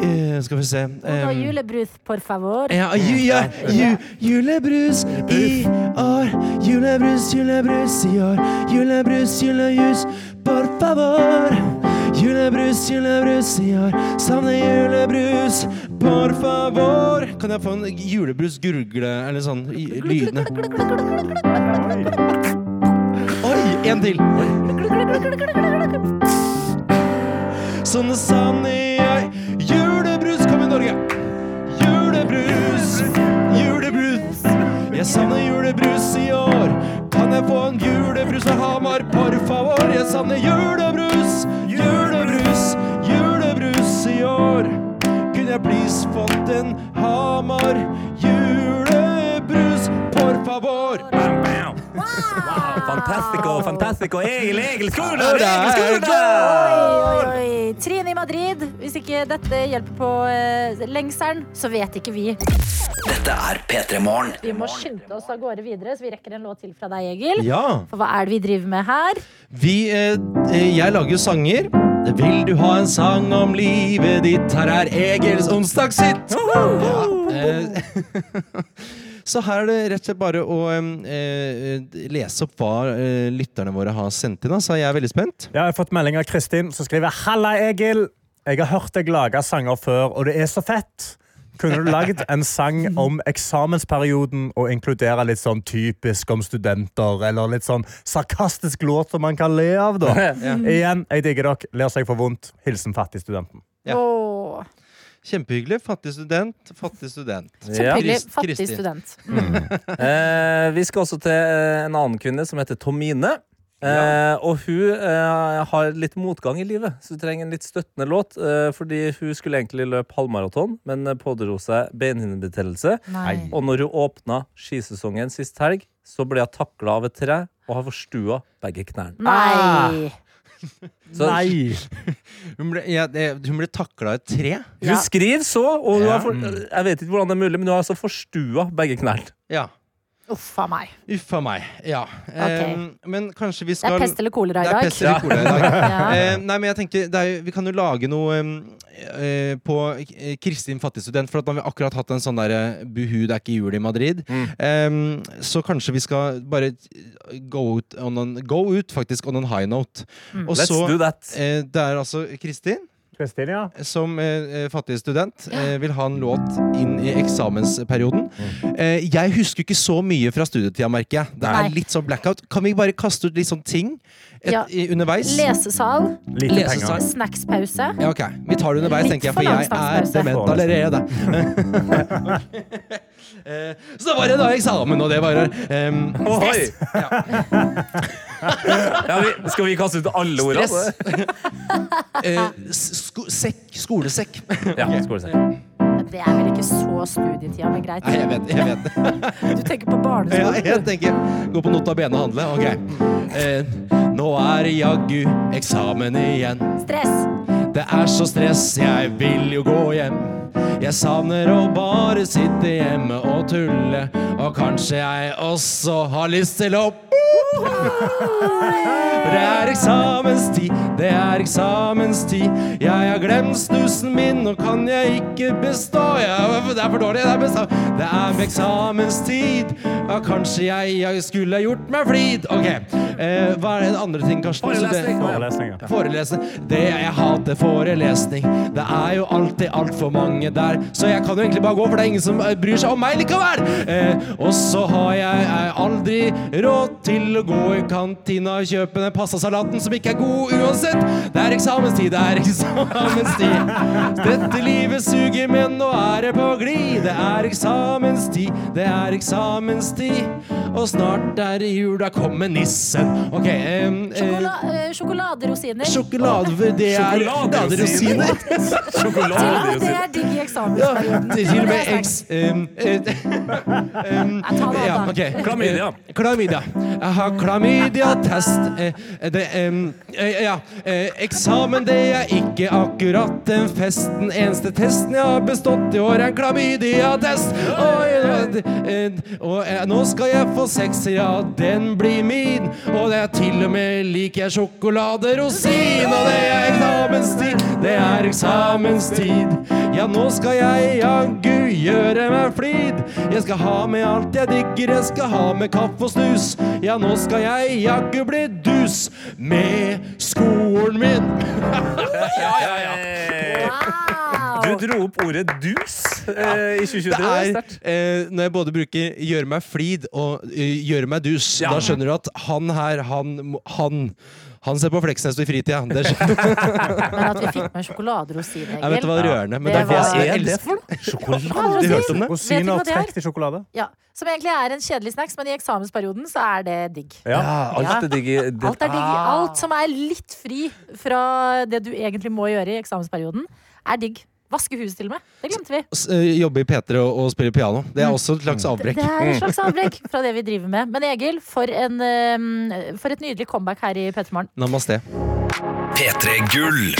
[SPEAKER 8] Eh, skal vi se
[SPEAKER 13] Og
[SPEAKER 8] em,
[SPEAKER 13] julebrus, por favor.
[SPEAKER 8] ja, ju, ja, ju, julebrus i år. Julebrus, julebrus i år. Julebrus, julejus, por favor. Julebrus, julebrus i år. Savner julebrus, por favor. Kan jeg få en julebrus-gurgle, eller sånn, i- lydene? Oi, en til. Sånn savner jeg julebrus. Kom i Norge. Julebrus, julebrus. Jeg savner julebrus i år. Kan jeg få en julebrus fra Hamar, por favor? Jeg savner julebrus, julebrus, julebrus i år. Kunne jeg please fått en Hamar julebrus, por favor?
[SPEAKER 4] Fantastico, fantastico. Egil, Egil, skål!
[SPEAKER 8] Ja, det er
[SPEAKER 4] Egil, skål!
[SPEAKER 3] Oi, oi, oi. Trine i Madrid. Hvis ikke dette hjelper på eh, lengselen, så vet ikke vi.
[SPEAKER 14] Dette er P3 Morgen.
[SPEAKER 3] Vi må skynde oss av gårde videre, så vi rekker en låt til fra deg, Egil.
[SPEAKER 8] Ja.
[SPEAKER 3] For hva er det vi driver med her?
[SPEAKER 8] Vi, eh, eh, jeg lager jo sanger. Vil du ha en sang om livet ditt? Her er Egils onsdagshit! Ja, eh, Så her er det rett og slett bare å eh, eh, lese opp hva eh, lytterne våre har sendt inn. Altså, jeg er veldig spent.
[SPEAKER 5] Ja, jeg har fått melding av Kristin som skriver Halla, Egil! Jeg har hørt deg lage sanger før, og det er så fett! Kunne du lagd en sang om eksamensperioden og inkludere litt sånn typisk om studenter, eller litt sånn sarkastisk låt som man kan le av, da?
[SPEAKER 8] Ja.
[SPEAKER 5] Igjen, jeg digger dere. Ler seg for vondt. Hilsen fattigstudenten.
[SPEAKER 8] Ja. Kjempehyggelig. Fattig student, fattig student.
[SPEAKER 3] Selvfølgelig
[SPEAKER 8] Krist-
[SPEAKER 3] fattig
[SPEAKER 8] Kristin.
[SPEAKER 3] student.
[SPEAKER 4] Eh, vi skal også til eh, en annen kvinne som heter Tomine. Eh, Og hun eh, har litt motgang i livet, så hun trenger en litt støttende låt. Eh, fordi hun skulle egentlig løpe halvmaraton, men eh, pådro seg benhinnebetennelse.
[SPEAKER 3] Nei.
[SPEAKER 4] Og når hun åpna skisesongen sist helg, så ble hun takla av et tre og har forstua begge knærne.
[SPEAKER 3] Nei.
[SPEAKER 4] Så- Nei.
[SPEAKER 8] Hun ble, ja, det- hun ble takla i et tre.
[SPEAKER 4] Hun skriver så, og hun
[SPEAKER 8] Ja.
[SPEAKER 4] har for, eh, jeg vet ikke hvordan det er mulig, men hun har altså forstua begge knærne.
[SPEAKER 8] Ja.
[SPEAKER 3] Uff a meg.
[SPEAKER 8] Uff a meg. Ja. Em, men kanskje vi
[SPEAKER 3] Det
[SPEAKER 8] skal
[SPEAKER 3] er pest eller kolera i
[SPEAKER 8] Det er
[SPEAKER 3] dag.
[SPEAKER 8] pest eller kolera i dag.
[SPEAKER 3] Ja.
[SPEAKER 8] Eh, nei, men jeg tenker, det er, jo- Vi kan jo lage noe em, eh, på eh, Kristin fattig student, for at nå har vi akkurat hatt en sånn derre buhu, det er ikke jul i Madrid.
[SPEAKER 4] Mm.
[SPEAKER 8] Em, så kanskje vi skal bare eh, go ut, on an, go ut faktisk on a high note.
[SPEAKER 4] Mm. Let's do that.
[SPEAKER 8] eh, det er altså Kristin
[SPEAKER 5] Kristin, ja.
[SPEAKER 8] som eh, eh, fattig student eh, vil ha en låt inn i eksamensperioden. Eh, jeg husker ikke så mye fra studietida, merker jeg. Det
[SPEAKER 3] Nei.
[SPEAKER 8] er litt sånn blackout. Kan vi bare kaste ut litt sånn ting et,
[SPEAKER 3] Ja.
[SPEAKER 8] i, underveis?
[SPEAKER 3] Lesesal.
[SPEAKER 8] Lite Lesesal. penger.
[SPEAKER 3] Snackspause.
[SPEAKER 8] Ja, ok. Vi tar det underveis,
[SPEAKER 3] Litt
[SPEAKER 8] tenker jeg,
[SPEAKER 3] for
[SPEAKER 8] for
[SPEAKER 3] lang
[SPEAKER 8] jeg er
[SPEAKER 3] snakkepause.
[SPEAKER 8] dement allerede. Eh, Så var det da eksamen, og det var eh, em,
[SPEAKER 4] Stress! Ja, vi, skal vi kaste ut alle ordene?
[SPEAKER 8] Stress. Eh, s- sko sekk. Skolesekk.
[SPEAKER 4] Ja, skolesekk.
[SPEAKER 3] Det er vel ikke så studietida, men greit.
[SPEAKER 8] Nei, jeg vet, jeg vet.
[SPEAKER 3] Du tenker på
[SPEAKER 8] Ja,
[SPEAKER 3] barneskolen.
[SPEAKER 8] jeg tenker Gå på nota bene og handle. Ok. Eh, nå er det jaggu eksamen igjen.
[SPEAKER 3] Stress.
[SPEAKER 8] Det er så stress, jeg vil jo gå hjem. Jeg savner å bare sitte hjemme og tulle. Og kanskje jeg også har lyst til å det er eksamenstid, det er eksamenstid. Jeg har glemt snusen min, nå kan jeg ikke bestå. Jeg, det er for dårlig, det er besta- Det er eksamenstid. Ja, kanskje jeg, jeg skulle gjort meg flid. Ok, eh, Hva er den andre ting, Karsten?
[SPEAKER 5] Forelesning. Forelesning,
[SPEAKER 8] ja. Forelesning. Det jeg hater forelesning. Det er jo alltid altfor mange der, så jeg kan jo egentlig bare gå, for det er ingen som eh, bryr seg om meg likevel. Eh, og så har jeg eh, aldri råd til til å gå i kantina og kjøpe den pastasalaten som ikke er god uansett. Det er eksamenstid, det er eksamenstid. Dette livet suger, men nå er det på glid. Det er eksamenstid, det er eksamenstid. Og snart er det jul, da kommer nissen. Ok, em, eh,
[SPEAKER 3] Sjokola eh, sjokoladerosiner.
[SPEAKER 8] sjokolade Det er
[SPEAKER 3] Sjokoladerosiner. Ja, det er digg i
[SPEAKER 8] Ja,
[SPEAKER 3] eksamensperioden.
[SPEAKER 8] til og med eks... Um,
[SPEAKER 3] det
[SPEAKER 8] ja,
[SPEAKER 3] da.
[SPEAKER 8] ok.
[SPEAKER 4] Klamydia.
[SPEAKER 8] Eh, Klamydia. Jeg har klamydia-test. Eh, det, em, eh, ja. eh, Eksamen, det er ikke akkurat en fest. Den eneste testen jeg har bestått i år, er en klamydia-test. Og, eh, eh, og eh, nå skal jeg få sekser, ja, den blir min. Og det er til og med liker jeg sjokoladerosin, og det er eksamenstid. Det er eksamenstid. Ja, nå skal jeg jaggu gjøre meg flid. Jeg skal ha med alt jeg digger, jeg skal ha med kaffe og snus. Ja, nå skal jeg jaggu bli dus med skolen min. ja, ja, ja.
[SPEAKER 4] Du dro opp ordet dus eh, i 2023.
[SPEAKER 8] Det
[SPEAKER 4] Det er
[SPEAKER 8] er,
[SPEAKER 4] sterkt.
[SPEAKER 8] eh, når jeg både bruker 'gjøre meg flid' og eh, 'gjøre meg dus', da skjønner du at han her, han må- Han, han ser på Fleksnes i fritida. Det skjønner du.
[SPEAKER 3] Men at vi fikk med sjokoladerosiner.
[SPEAKER 8] Jeg vet det var rørende, men det er
[SPEAKER 3] var-
[SPEAKER 8] det jeg elsker.
[SPEAKER 5] Sjokolade?
[SPEAKER 8] Aldri hørt om det.
[SPEAKER 3] Vet du
[SPEAKER 5] Rosiner
[SPEAKER 3] hva det er?
[SPEAKER 5] trukket i sjokolade.
[SPEAKER 3] Ja, Som egentlig er en kjedelig snacks, men i eksamensperioden så er det digg.
[SPEAKER 4] Ja, alt er digg i det-
[SPEAKER 3] Alt, er digg.
[SPEAKER 4] Ah.
[SPEAKER 3] Alt som er litt fri fra det du egentlig må gjøre i eksamensperioden, er digg. Vaske huset til og med. Det glemte vi.
[SPEAKER 8] S- eh, Jobbe i P3 og, og spille piano. Det er også et slags
[SPEAKER 3] Det
[SPEAKER 8] avbrekk.
[SPEAKER 3] er en slags avbrekk fra det vi driver med. Men Egil, for, en, eh, for et nydelig comeback her i P3 Morgen.
[SPEAKER 8] Namaste.
[SPEAKER 15] P3 Gull.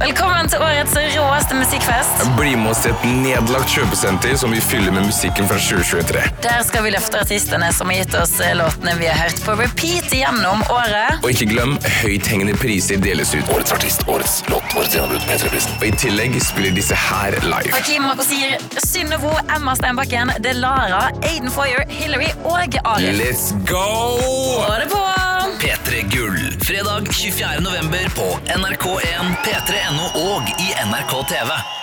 [SPEAKER 2] Velkommen til årets råeste musikkfest.
[SPEAKER 14] Bli med oss til et nedlagt kjøpesenter som vi fyller med musikken fra 2023.
[SPEAKER 2] Der skal vi løfte artistene som har gitt oss eh, låtene vi har hørt på repeat gjennom året.
[SPEAKER 14] Og ikke glem, høythengende priser deles ut. Årets artist, årets låt, årets gjennombrudd, P3-prisen. Og i tillegg spiller disse her live.
[SPEAKER 2] Hakim Markosir, Synnøvo, Emma Steinbakken, Det er Lara, Aiden Foyer, Hillary og Arif.
[SPEAKER 14] Let's go!
[SPEAKER 2] Få det på!
[SPEAKER 15] P3 Gull. Fredag 24. november på NRK1, P3.no og i NRK TV.